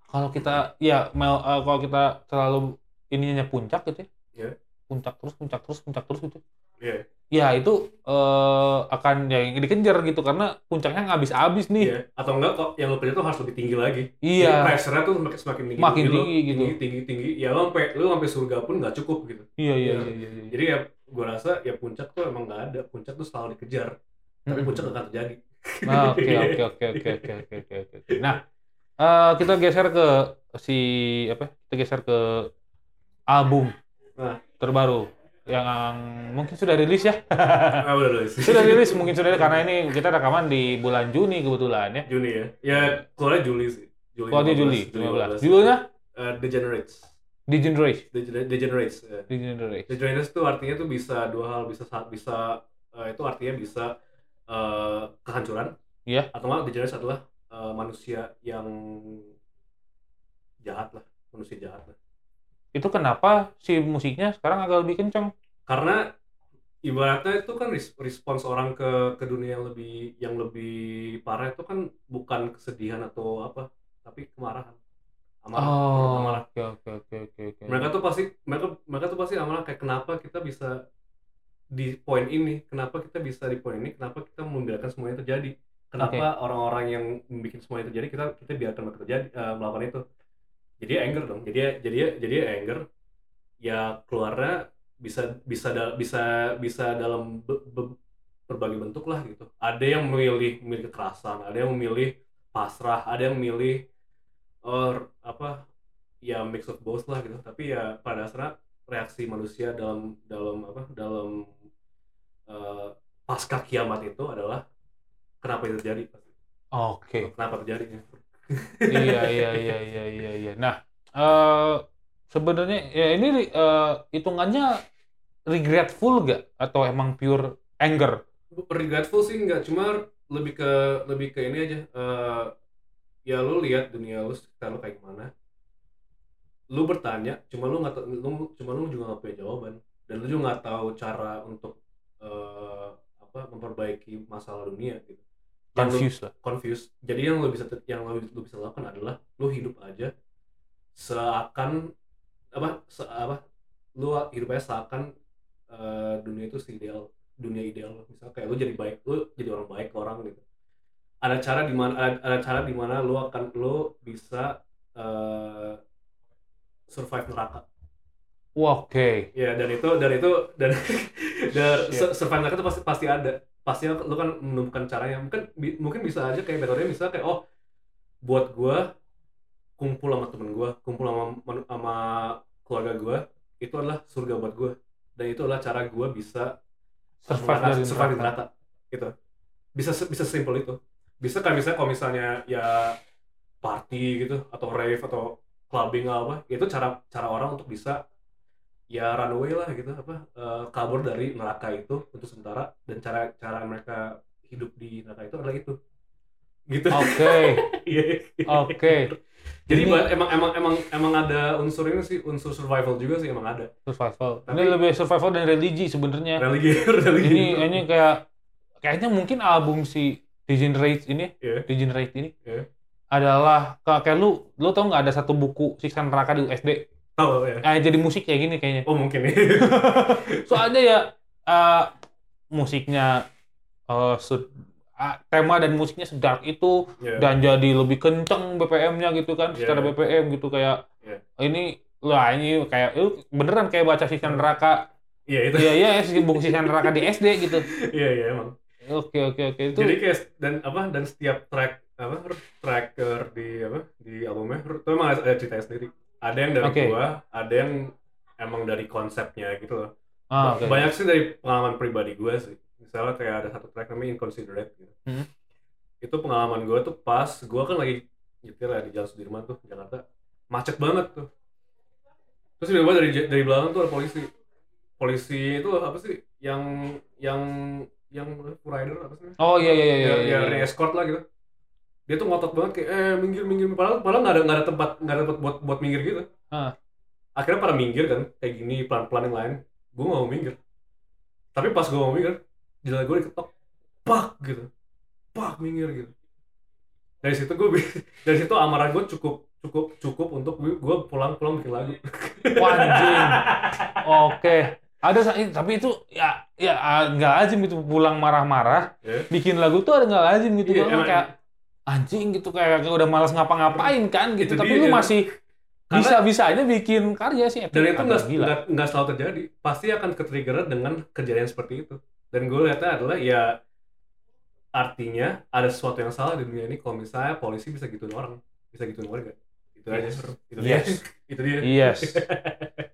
kalau kita ya mel, eh, kalau kita terlalu ininya puncak gitu ya. Iya. Puncak terus, puncak terus, puncak terus gitu. Iya. Ya itu eh, akan ya yang dikejar gitu karena puncaknya nggak habis-habis nih. Iya. atau enggak kok yang lo punya tuh harus lebih tinggi lagi Iya. Jadi pressure-nya tuh semakin, semakin tinggi Makin lo. tinggi gitu. tinggi tinggi tinggi ya lo sampai lo sampai surga pun nggak cukup gitu Iya, iya, Iya. iya, iya. iya. jadi ya gue rasa ya puncak tuh emang nggak ada puncak tuh selalu dikejar tapi Mm-mm. puncak nggak akan terjadi Nah, Hmm. Oke, oke, oke, oke, oke, oke, oke, oke, oke. Nah, eh, kita geser ke si apa? Kita geser ke album Nah. terbaru yang mungkin sudah rilis ya. ah udah udah sudah rilis mungkin sudah rilis, karena ini kita rekaman di bulan Juni kebetulan ya. Juni ya ya keluarnya Juli sih Juli Kalau di 15, Juli 15. 15. Judulnya Eh, degenerates Degenerate. Degen- degenerates ya. Degenerate. Degenerates itu artinya tuh bisa dua hal, bisa sa- bisa eh, itu artinya bisa eh, kehancuran. Iya. Atau enggak degenerates adalah eh, manusia yang jahat lah, manusia jahat lah. Itu kenapa si musiknya sekarang agak lebih kenceng? Karena ibaratnya itu kan res- respons orang ke ke dunia yang lebih yang lebih parah itu kan bukan kesedihan atau apa, tapi kemarahan. Amarah, Oh, amarah. oke oke oke oke oke. mereka tuh pasti mereka mereka tuh pasti amarah kayak kenapa kita bisa di poin ini kenapa kita bisa di poin ini kenapa kita membiarkan semuanya terjadi kenapa orang-orang yang bikin semuanya terjadi kita kita biarkan mereka terjadi eh, melakukan itu jadi anger dong jadi jadi jadi anger ya keluarnya bisa bisa da- bisa bisa dalam be- be- berbagai bentuk lah gitu ada yang memilih memilih kekerasan ada yang memilih pasrah ada yang memilih or apa ya mix of both lah gitu tapi ya pada dasarnya reaksi manusia dalam dalam apa dalam eh, pasca kiamat itu adalah kenapa itu terjadi Oke. kenapa terjadinya iya iya iya iya iya iya. Nah, eh sebenarnya ya ini eh, hitungannya regretful gak atau emang pure anger? regretful sih nggak cuma lebih ke lebih ke ini aja eh, ya lu lihat dunia lu sekitar lu kayak gimana lu bertanya cuma lu nggak tau- lu cuma lu juga nggak punya jawaban dan lu juga nggak tahu cara untuk eh, apa memperbaiki masalah dunia gitu Yang lu- Confused lah. confused. Jadi yang lo bisa yang lo, lo bisa lakukan adalah lo hidup aja seakan apa se, apa lo hidup aja seakan eh, dunia itu si ideal dunia ideal lo. Misal kayak lo jadi baik lo jadi orang baik ke orang gitu. Ada cara di mana ada, ada cara di mana lo akan lo bisa eh, survive neraka. Wah, Oke. Ya dan itu dan itu dan dan Shit. sur- survive neraka itu pasti pasti ada. Pasti lu kan menemukan caranya. Mungkin bi- mungkin bisa aja kayak metodenya bisa kayak oh buat gua kumpul sama temen gua, kumpul sama manu- sama keluarga gua itu adalah surga buat gua. Dan itu adalah cara gua bisa Survive mengatasi- dari survive di neraka. neraka. Gitu. Bisa se- bisa simple itu. Bisa kayak misalnya kalau misalnya ya party gitu atau rave atau clubbing apa itu cara cara orang untuk bisa ya runaway lah gitu apa eh, kabur dari neraka itu untuk sementara dan cara cara mereka hidup di neraka itu adalah itu gitu Oke. Iya. Oke. jadi Ini- ba- emang emang emang emang ada unsur ini sih unsur survival juga sih emang ada Survival. Ini Tapi- Iya. lebih survival dan religi sebenarnya. religi Eh, religi ini ini kayak kayaknya mungkin album si Degenerate ini Iya. Degenerate ini Iya. adalah kayak, kayak lu lu tau nggak ada satu buku siksa neraka di USD tahu ya eh, jadi musik kayak gini kayaknya oh mungkin ya soalnya ya eh, musiknya eh, se- ah, tema dan musiknya sedark itu Iya. dan jadi lebih kenceng BPM-nya gitu kan Iya, secara iya. BPM gitu kayak Iya. ini lah ini kayak lu beneran kayak baca siksa neraka iya itu iya iya buku siksa neraka di SD gitu iya iya emang Oke oke oke itu jadi kayak dan apa dan setiap track apa tracker di apa di albumnya itu emang ada ada ceritanya sendiri ada yang dari Oke. gua ada yang emang dari konsepnya gitu loh ah, oke. banyak sih dari pengalaman pribadi gua sih misalnya kayak ada satu track namanya inconsiderate gitu Hmm. itu pengalaman gua tuh pas gua kan lagi nyetir ya di jalan Sudirman tuh Jakarta macet banget tuh terus tiba-tiba dari dari belakang tuh ada polisi polisi itu apa sih yang yang yang rider apa sih namanya? Oh iya iya iya. ya, iya, ya, re-escort lah gitu dia tuh ngotot banget kayak eh minggir minggir padahal padahal nggak ada nggak ada tempat nggak ada tempat buat buat minggir gitu Ah. akhirnya pada minggir kan kayak gini pelan pelan yang lain gue mau minggir tapi pas gue mau minggir jalan gue diketok pak gitu pak minggir gitu dari situ gue dari situ amarah gue cukup cukup cukup untuk gue pulang pulang bikin lagu Wah, anjing. Oke. Ada sa- i- tapi itu ya ya ah, nggak lazim gitu pulang marah-marah, Iya. bikin lagu tuh ada nggak lazim gitu Iya, Kalau emang- kayak anjing gitu kayak udah malas ngapa-ngapain kan gitu. Itu tapi dia. lu masih Karena- bisa-bisanya bikin karya sih. dan itu Agak nggak gila. nggak- nggak selalu terjadi pasti akan ketrigger dengan kejadian seperti itu dan gue lihatnya adalah ya artinya ada sesuatu yang salah di dunia ini kalau misalnya polisi bisa gituin orang bisa gituin warga itu aja Yes. itu Yes. Iya. dia itu dia Yes.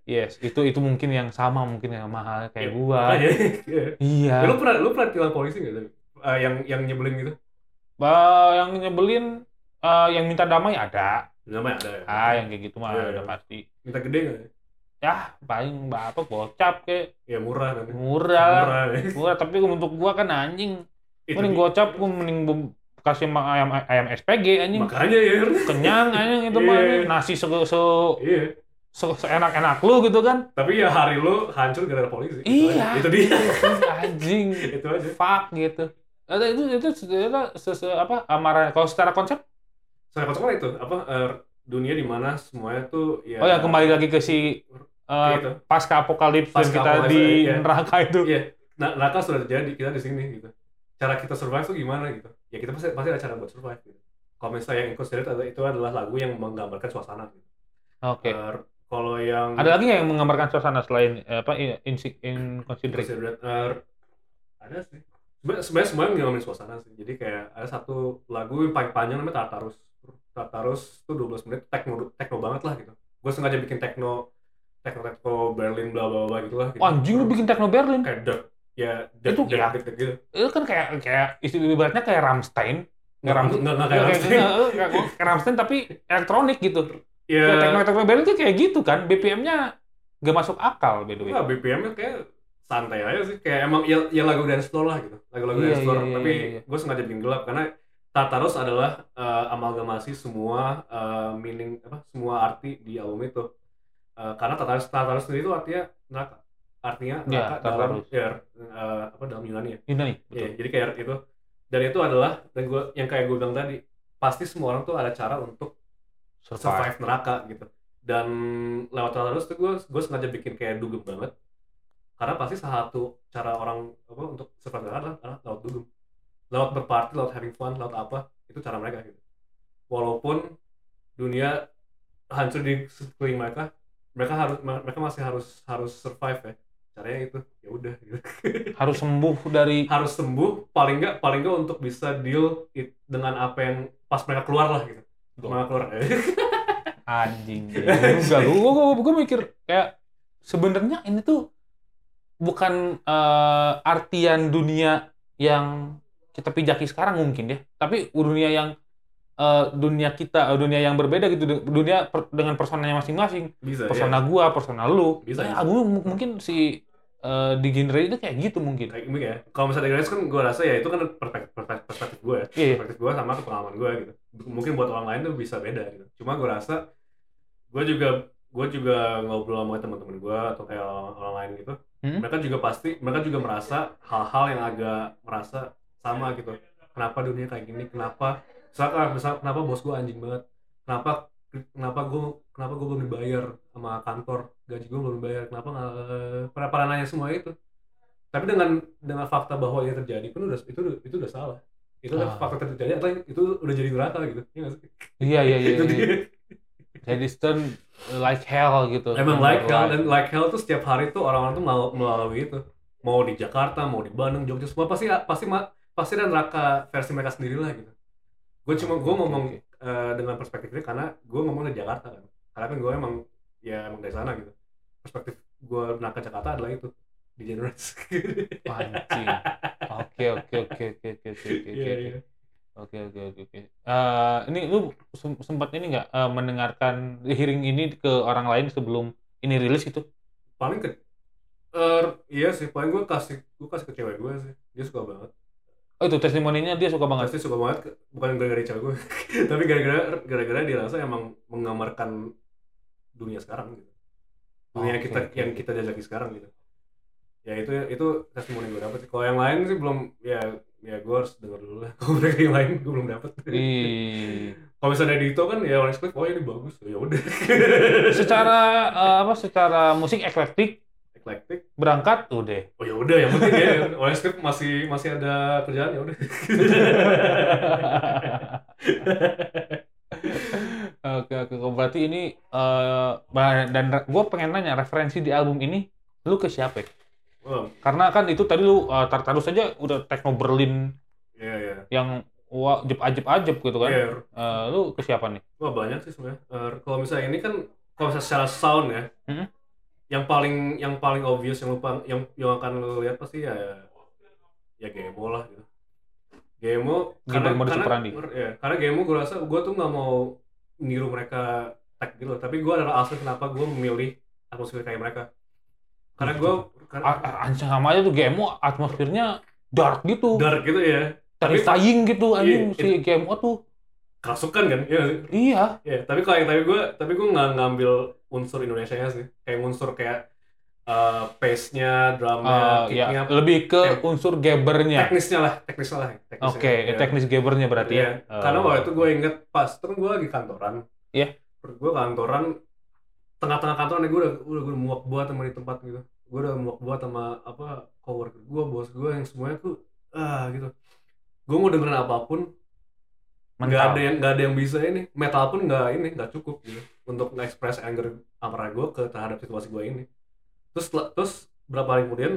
Yes, itu itu mungkin yang sama mungkin yang mahal kayak gua. Makanya, iya. Iya. Ya, lu pernah lu pernah tilang polisi nggak Tadi? Eh, yang yang nyebelin gitu Bah, yang nyebelin eh, yang minta damai ada. namanya ada ya Ah, yang kayak gitu mah Iya, ada iya. pasti. minta gede nggak ya? Ya, paling apa gocap kayak ya murah kan murah lah. murah ya. Murah, tapi untuk gua kan anjing. Itu Mending dia. gocap gua mending bem- kasih ma- ayam ayam SPG anjing. makanya ya Kenyang anjing itu mah Iya. anjing. nasi se se, iya se- seenak-enak lu gitu kan. tapi ya hari lu hancur gara-gara polisi Itu Iya. aja. itu dia anjing. itu aja Fuck gitu. Ada itu itu sebenarnya se- se- apa amarah kalau secara konsep saya katakan itu apa eh, dunia di mana semuanya tuh ya Oh ya kembali lagi ke si uh, kayak gitu. pasca apokalips yang Pasca kita apokalips, di iya. neraka itu. Iya. Nah, neraka sudah terjadi kita di sini gitu. Cara kita survive tuh gimana gitu? Ya kita pasti pasti ada cara buat survive gitu. Kalau misalnya yang ikut sendiri adalah- itu adalah lagu yang menggambarkan suasana gitu. Oke. Eh, kalau yang Ada lagi nggak yang menggambarkan suasana selain eh, apa in- insi- inconsiderate? Considerate, eh, ada sih. Sebenarnya sebenarnya semua yang ngomongin suasana sih. Jadi kayak ada satu lagu yang paling panjang namanya Tartarus. Tartarus tuh 12 menit techno techno banget lah gitu. Gue sengaja bikin techno techno techno Berlin bla bla bla gitu lah. Gitu. Wah, Anjing lu bikin techno Berlin. kayak deg ya deg Itu deg ya. deg deg gitu. Itu kan kayak kayak isti- ibaratnya kayak Ramstein. Nggak ram nggak nggak kayak gitu. Ya, Ramstein. Kayak Ramstein tapi elektronik gitu. Ya Kayak techno techno Berlin tuh kayak gitu kan. BPM-nya nggak masuk akal by the way. nggak BPM-nya kayak santai aja sih kayak emang ya, ya lagu dance floor lah gitu lagu-lagu Iya, dance floor iya, iya, tapi iya, iya. gue sengaja bikin gelap karena Tartarus adalah eh, amalgamasi semua eh, meaning apa semua arti di album itu Eh, karena Tartarus Tartarus sendiri itu artinya neraka artinya Iya, neraka dalam Tartarus. ya, eh, apa dalam Yunani ya Ini nih. Iya, Betul. jadi kayak itu. Dan itu adalah dan gua, yang kayak gue bilang tadi, pasti semua orang tuh ada cara untuk survive, Survive. neraka gitu. Dan lewat terus tuh gue gue sengaja bikin kayak dugem banget. Karena pasti salah satu cara orang apa untuk survive neraka adalah, adalah lewat dugem. Lewat berparty, lewat having fun, lewat apa, itu cara mereka gitu. Walaupun dunia hancur di sekeliling mereka, mereka harus mereka masih harus harus survive ya. Caranya itu ya udah gitu Harus sembuh dari harus sembuh paling nggak paling nggak untuk bisa deal it- dengan apa yang pas mereka keluar lah gitu mereka keluar anjing enggak gua gua, gua mikir kayak sebenarnya ini tuh bukan eh, artian dunia yang kita pijaki sekarang mungkin ya tapi dunia yang eh, dunia kita eh, dunia yang berbeda gitu du- dunia per- dengan personanya masing-masing bisa ya. persona gua persona lu Iya. Bisa, Kayak bisa. aku m- mungkin si eh, di genre itu kayak gitu ya. mungkin kayak gini ya kalau misalnya Grace kan gue rasa ya itu kan perspektif perspektif, perspektif gue ya Iya, iya. perspektif gue sama pengalaman gue gitu mungkin buat orang lain tuh bisa beda gitu cuma gue rasa gue juga gue juga ngobrol sama teman-teman gue atau kayak orang, orang lain gitu Hmm? mereka juga pasti mereka juga merasa hal-hal yang agak merasa sama gitu kenapa dunia kayak gini kenapa misalkan misal kenapa bos gue anjing banget kenapa kenapa gue kenapa gue belum dibayar sama kantor gaji gue belum dibayar kenapa nggak para para nanya semua itu tapi dengan dengan fakta bahwa yang terjadi pun udah itu udah- itu udah salah itu Ah. fakta terjadi atau itu udah jadi neraka gitu Iya nggak sih? iya iya iya, itu iya. dia. jadi stern like hell gitu Emang like hell dan like hell tuh setiap hari tuh orang-orang tuh melal- melalui itu. Mau di Jakarta, mau di Bandung, Jogja semua pasti pasti ma- pasti ada neraka versi mereka sendiri lah gitu. Gue cuma gue Oke, ngomong oke. eh, dengan perspektif ini karena gue ngomong dari Jakarta kan. Karena kan gue emang ya emang dari sana gitu. Perspektif gue neraka Jakarta adalah itu di generasi. Pancing. Oke oke oke oke oke oke oke Iya oke. iya. oke oke oke oke. Eh, Ini lu sem- sempat ini nggak eh, gitu? mendengarkan hearing ini ke orang lain sebelum ini rilis itu? Paling ke Eh, iya sih, paling gue kasih gue kasih ke cewek gue sih. Dia suka banget. Oh itu testimoninya dia suka banget. Pasti suka banget ke- bukan gara-gara cewek gue, tapi gara-gara gara-gara dia rasa emang menggambarkan dunia sekarang gitu. Dunia Oke, Oh, kita oke. yang kita jajaki sekarang gitu. Ya itu itu testimoni gue dapet. sih. Kalau yang lain sih belum ya ya gue harus denger dulu lah. Kalau mereka yang lain gue belum dapet. Ih. Kalau misalnya di itu kan ya orang Cliff, oh ini bagus, ya udah. Secara eh, apa? Secara musik eklektik eklektik, berangkat udah. oh ya udah yang penting ya orang Cliff masih masih ada kerjaan ya udah. oke oke oke. berarti ini eh, bah- dan gue pengen nanya referensi di album ini lu ke siapa? ya? Wah, Karena kan itu tadi lu eh, Tartarus aja udah techno Berlin ya ya. yang wah ajep ajep ajep gitu kan. Ya, Eh, lu ke siapa nih? Wah banyak sih sebenarnya. Eh, kalau misalnya ini kan kalau misalnya secara sound ya, Mhm. yang paling yang paling obvious yang lupa yang yang akan lo lihat pasti ya ya Gemo lah gitu. Gemo karena Gemo di karena, Suprandi. ya, karena Gemo gue rasa gue tuh nggak mau niru mereka tag gitu, loh. tapi gue adalah alasan kenapa gue memilih atmosfer kayak mereka. Karena gue karena A- a- anjing sama aja tuh GMO atmosfernya dark gitu, dark gitu ya, tapi- terrifying gitu anjing Iya, si GMO tuh. kerasukan kan? Iya nggak sih? Iya. Ya, tapi kalau yang tapi gue tapi gue nggak ngambil unsur Indonesia nya sih. Kayak unsur kayak eh pace Eh, nya, drama, ya, kick-nya, lebih ke Tem- unsur gebernya. teknisnya lah, teknisnya lah. teknisnya. Oke, eh, Ya. teknis gebernya berarti Iya. ya. Eh, Karena waktu itu gue inget pas itu kan gue lagi kantoran. Iya. Gue kantoran tengah-tengah kantoran gue udah udah gue muak buat sama di tempat gitu. Gue udah muak buat sama apa coworker gue, bos gue yang semuanya tuh ah gitu. Gue mau dengerin apapun, nggak mental. ada yang nggak ada yang bisa ini metal pun nggak ini nggak cukup gitu untuk nge-express anger amarah gue ke terhadap situasi gue ini terus setelah- terus berapa hari kemudian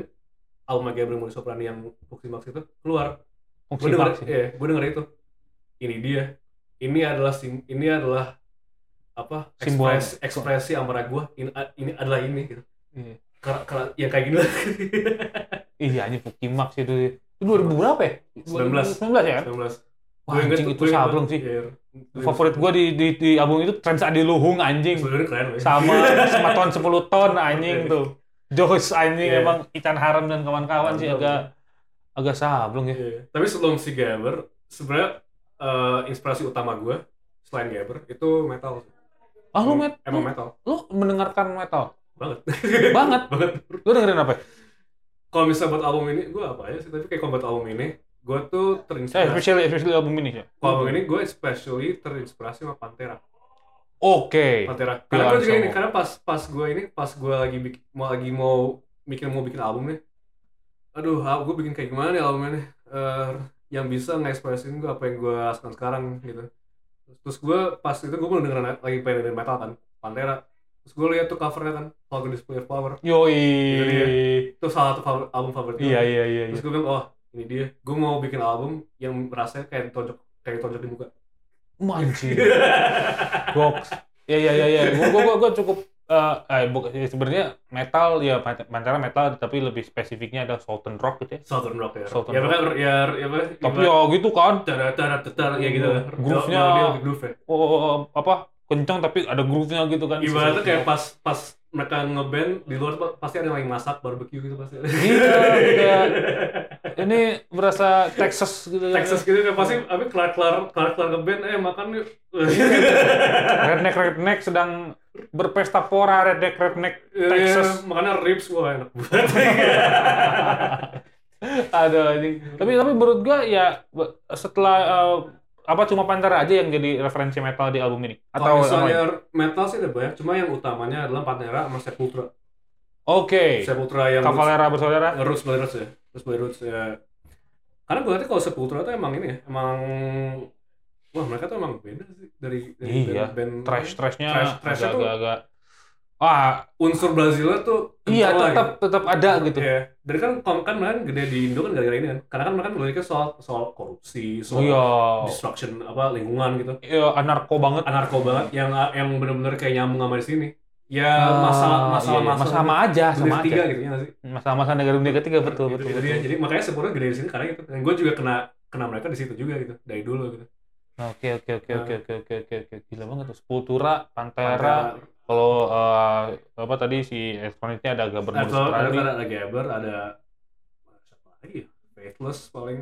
Alma Gabriel Moni Soprani yang Fuxi Max itu keluar Fungsi gue denger maksimal. ya gue denger itu ini dia ini adalah sim, ini adalah apa Simbol. ekspres- ekspresi amarah gue ini, ini adalah ini gitu Iya. karena karena ya kayak gini lah Iya, anjing Fukimax itu. Itu 2000 berapa ya? 19. 19 ya kan? 19 Wah, Gue inget anjing tuh- itu gue inget sableng banget. sih. Iya. Favorit gua di, di, di album itu Trans Adi Luhung anjing. sebenarnya keren weh. Sama sama ton 10 ton anjing tuh. Jos anjing Iya. emang Ican Haram dan kawan-kawan sih Betul, agak agak sableng ya. Iya. Tapi sebelum si Gabber, sebenarnya eh, inspirasi utama gue selain Gabber itu metal. Ah lu met, Emang lu- metal lu mendengarkan metal banget. banget. banget. Lu dengerin apa? ya? Kalau misalnya buat album ini, gue apa aja sih? Tapi kayak kalau buat album ini, gue tuh Eh, terinspirasi. especially especially album ini ya. Kalau Nah. Oh, album ini gue especially terinspirasi sama Pantera. Oke. Iya, Pantera. Karena gue juga Langsung. ini, karena pas pas gue ini, pas gue lagi bikin, mau lagi mau bikin mau bikin album nih. Aduh, gue bikin kayak gimana ya albumnya nih? Eh, yang bisa ngekspresin gue apa yang gue rasakan sekarang gitu. Terus gue pas itu gue belum dengerin lagi pengen dengerin metal kan, Pantera. Terus gue lihat tuh covernya kan, Falcon Display of Power. Yoi. Itu dia. Itu salah satu favor- album favorit gue. Iya iya iya iya. Terus gue bilang, oh ini dia. Gue mau bikin album yang rasanya kayak tonjok kayak tonjok di muka. Manci. Goks. Ya ya ya ya. Gua gua gua, gua cukup eh, eh bu- ya, sebenarnya metal ya Pantera metal tapi lebih spesifiknya ada Southern Rock gitu ya. Southern Rock ya. Southern ya, Rock. Mereka, ya, ya, mereka- Tapi ya gitu kan. tara tara tetar ya gitu Groove-nya. Mel- melodi lebih groove ya Oh, oh, oh, apa kencang tapi ada groove-nya gitu kan. ibaratnya kayak pas pas mereka ngeband di luar tuh pasti ada yang lagi masak barbecue gitu pasti Iya, iya. ini berasa Texas gitu kan. Texas gitu kan pasti abis kelar kelar kelar kelar ngeband eh makan yuk Redneck redneck sedang berpesta pora redneck redneck Texas. Iya, makannya ribs wah enak banget Aduh anjing. Tapi tapi menurut gua ya be- setelah eh, apa cuma Pantera aja yang jadi referensi metal di album ini atau atau yang lain? misalnya metal sih ada banyak cuma yang utamanya adalah Pantera sama Sepultura Oke. Sepultura yang Cavalera bersaudara. Roots by Roots ya. Roots by Roots ya. Karena gue liatnya kalau Sepultura tuh emang ini ya, emang wah mereka tuh emang beda sih dari, dari Iya, band, Trash Trash- trashnya trashnya agak tuh- agak ah unsur Brazilnya tuh iya kental tetap gitu. tetap ada gitu. Iya. Dari kan kom kan mereka gede di Indo kan gara-gara ini kan. Karena kan mereka meliriknya soal soal korupsi, Oh soal iya. destruction apa lingkungan gitu. Iya, anarko banget. Anarko banget yang yang bener-bener kayak nyambung sama di sini. Ya Ah, masalah iya, masalah iya. masalah sama aja, sama Sama aja. tiga gitu ya nggak sih. Masa-masa negara dunia ketiga betul Gitu, betul. gitu betul. dia. Jadi makanya Sepultura gede di sini karena gitu. Dan gue juga kena kena mereka di situ juga gitu dari dulu gitu. Nah, Oke oke oke oke oke oke oke oke gila banget tuh Sepultura, Pantera, Pantera, Kalau eh, apa tadi si eksponennya ada Gabber Atau ada Australia. ada Gabber, ada siapa lagi ya? Faithless paling.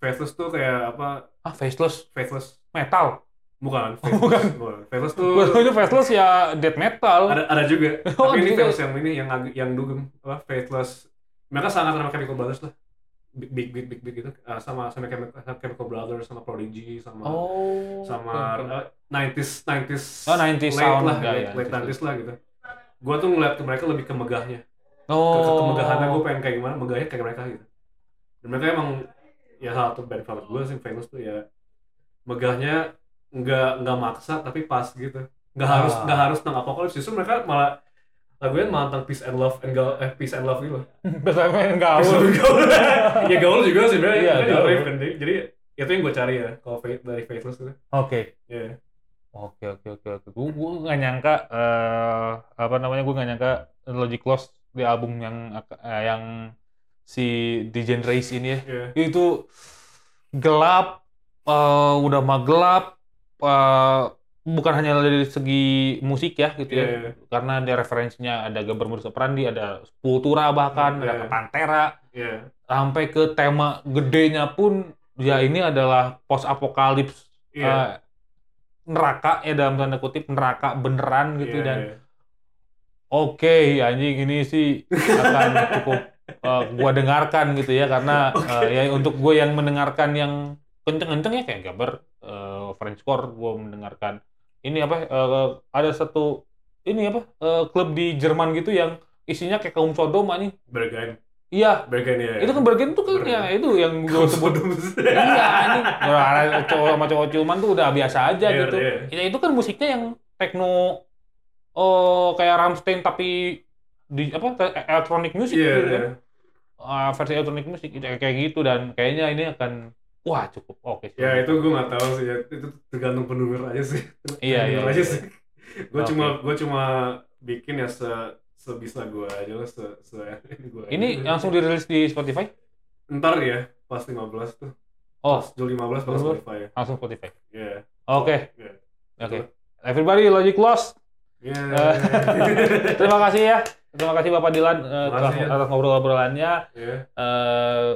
Faithless tuh kayak apa? Ah, faceless Faithless metal. bukan, faithless, Oh, bukan. bukan. Faithless Gue tuh itu faceless ya death metal. ada ada juga. Oh, Tapi ini ada faithless yang ini yang ag- yang dugem apa faithless. Mereka sangat sama Chemical Brothers lah. Big big big big, big gitu. Eh, sama sama Chemi- Chemical Brothers sama Prodigy sama Oh. sama oke, oke. eh, 90s 90s Oh, 90s late sound, lah ya, late, ya, late 90s. 90s lah gitu gua tuh ngeliat ke mereka lebih ke megahnya ke, ke Oh. kemegahannya gua pengen kayak gimana megahnya kayak mereka gitu dan mereka emang ya salah satu band favorit gua sih famous tuh ya megahnya nggak nggak maksa tapi pas gitu nggak harus Ah. nggak harus tentang apokalips justru mereka malah lagunya malah tentang peace and love and gaul eh peace and love gitu Biasanya main Peace gaul. and gaul. ya gaul juga sih sebenarnya Iya, Kan juga gaul. rave kan. jadi itu yang gua cari ya kalau Faith- dari faithless itu Oke. Iya. Oke oke oke oke. Gue gue nggak nyangka eh apa namanya gue nggak nyangka Logic Lost di album yang ak- eh, yang si Degen Race ini ya Iya. itu gelap eh, udah mah gelap eh, bukan hanya dari segi musik ya gitu Iya, ya iya. karena ada referensinya ada gambar Mursa Prandi ada Sepultura bahkan ada Iya. Pantera Iya. sampai ke tema gedenya pun ya ini adalah post apokalips Iya. eh, neraka ya dalam tanda kutip neraka beneran gitu Iya, dan iya. oke anjing ini sih akan cukup eh, gua dengarkan gitu ya karena Oke. eh, ya untuk gue yang mendengarkan yang kenceng-kenceng ya kayak gambar eh, French Core gue mendengarkan ini apa eh, ada satu ini apa eh, klub di Jerman gitu yang isinya kayak kaum Sodom anjing Bergen, iya Bergen ya. itu kan bagian tuh kan ya itu yang gue sebut iya anjing Orang cowok sama cowok ciuman tuh udah biasa aja Iya, gitu iya. ya itu kan musiknya yang techno oh kayak Rammstein tapi di apa te- electronic music Iya, gitu iya. kan. Ah, versi electronic music gitu, kayak gitu dan kayaknya ini akan wah cukup oke sih. Ya itu gue nggak tahu sih. ya. Itu tergantung pendengar aja sih. Iya, iya, Pendengar iya, aja iya. sih. Gue Oke. cuma gue cuma bikin ya se sebisa gue aja lah se se ini gue. ini langsung dirilis di Spotify Ntar ya pas 15 tuh. oh Pas Juli 15 baru Betul. Spotify ya. langsung Spotify Iya. oke Iya. oke everybody logic lost Iya. terima kasih ya terima kasih Bapak Dilan eh, Terima kasih. ya. atas ngobrol-ngobrolannya Iya. eh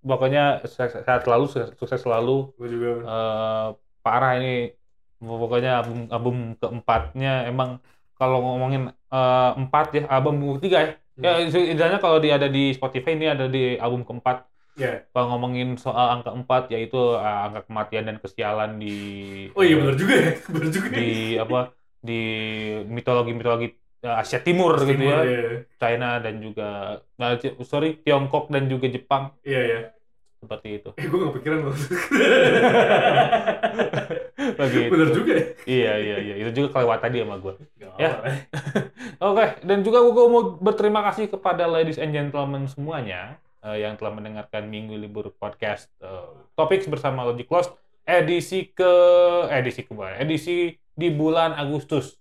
pokoknya sukses- sehat selalu, sukses sukses selalu. Gue juga. eh parah ini pokoknya album, album keempatnya emang kalau ngomongin eh, empat ya album ketiga ya. Hmm. Ya idealnya kalau dia ada di Spotify ini ada di album keempat. Iya. Kalau ngomongin soal angka empat yaitu eh, angka kematian dan kesialan di Oh iya benar juga ya. Benar juga. di apa di mitologi-mitologi eh, Asia Timur, gitu ya. Timur, Iya. China dan juga nah, ci- sorry Tiongkok dan juga Jepang Iya iya. seperti itu. Eh gue nggak pikiran loh. Begitu. Bener juga ya. Iya iya iya itu juga kelewatan dia sama gue. Ya. Oke dan juga gue mau berterima kasih kepada ladies and gentlemen semuanya eh, yang telah mendengarkan Minggu Libur Podcast topik bersama Logic Lost edisi ke edisi kemarin edisi di bulan Agustus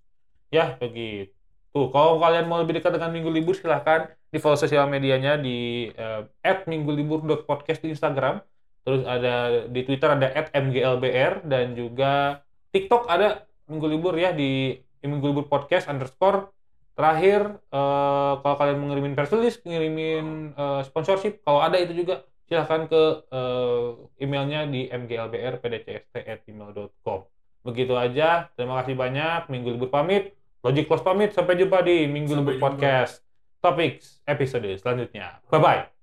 ya begitu. Kalau kalian mau lebih dekat dengan Minggu Libur silahkan di follow sosial medianya di eh, @minggulibur.podcast di Instagram terus ada di Twitter ada @mglbr dan juga TikTok ada Minggu Libur ya di Minggu Libur Podcast underscore terakhir eh, kalau kalian mengirimin press release, ngirimin eh, sponsorship kalau ada itu juga silahkan ke eh, emailnya di mglbrpdcst@gmail.com begitu aja terima kasih banyak Minggu Libur pamit Logic Close pamit sampai jumpa di Minggu Sampai Libur jumpa. Podcast Topics episode selanjutnya bye bye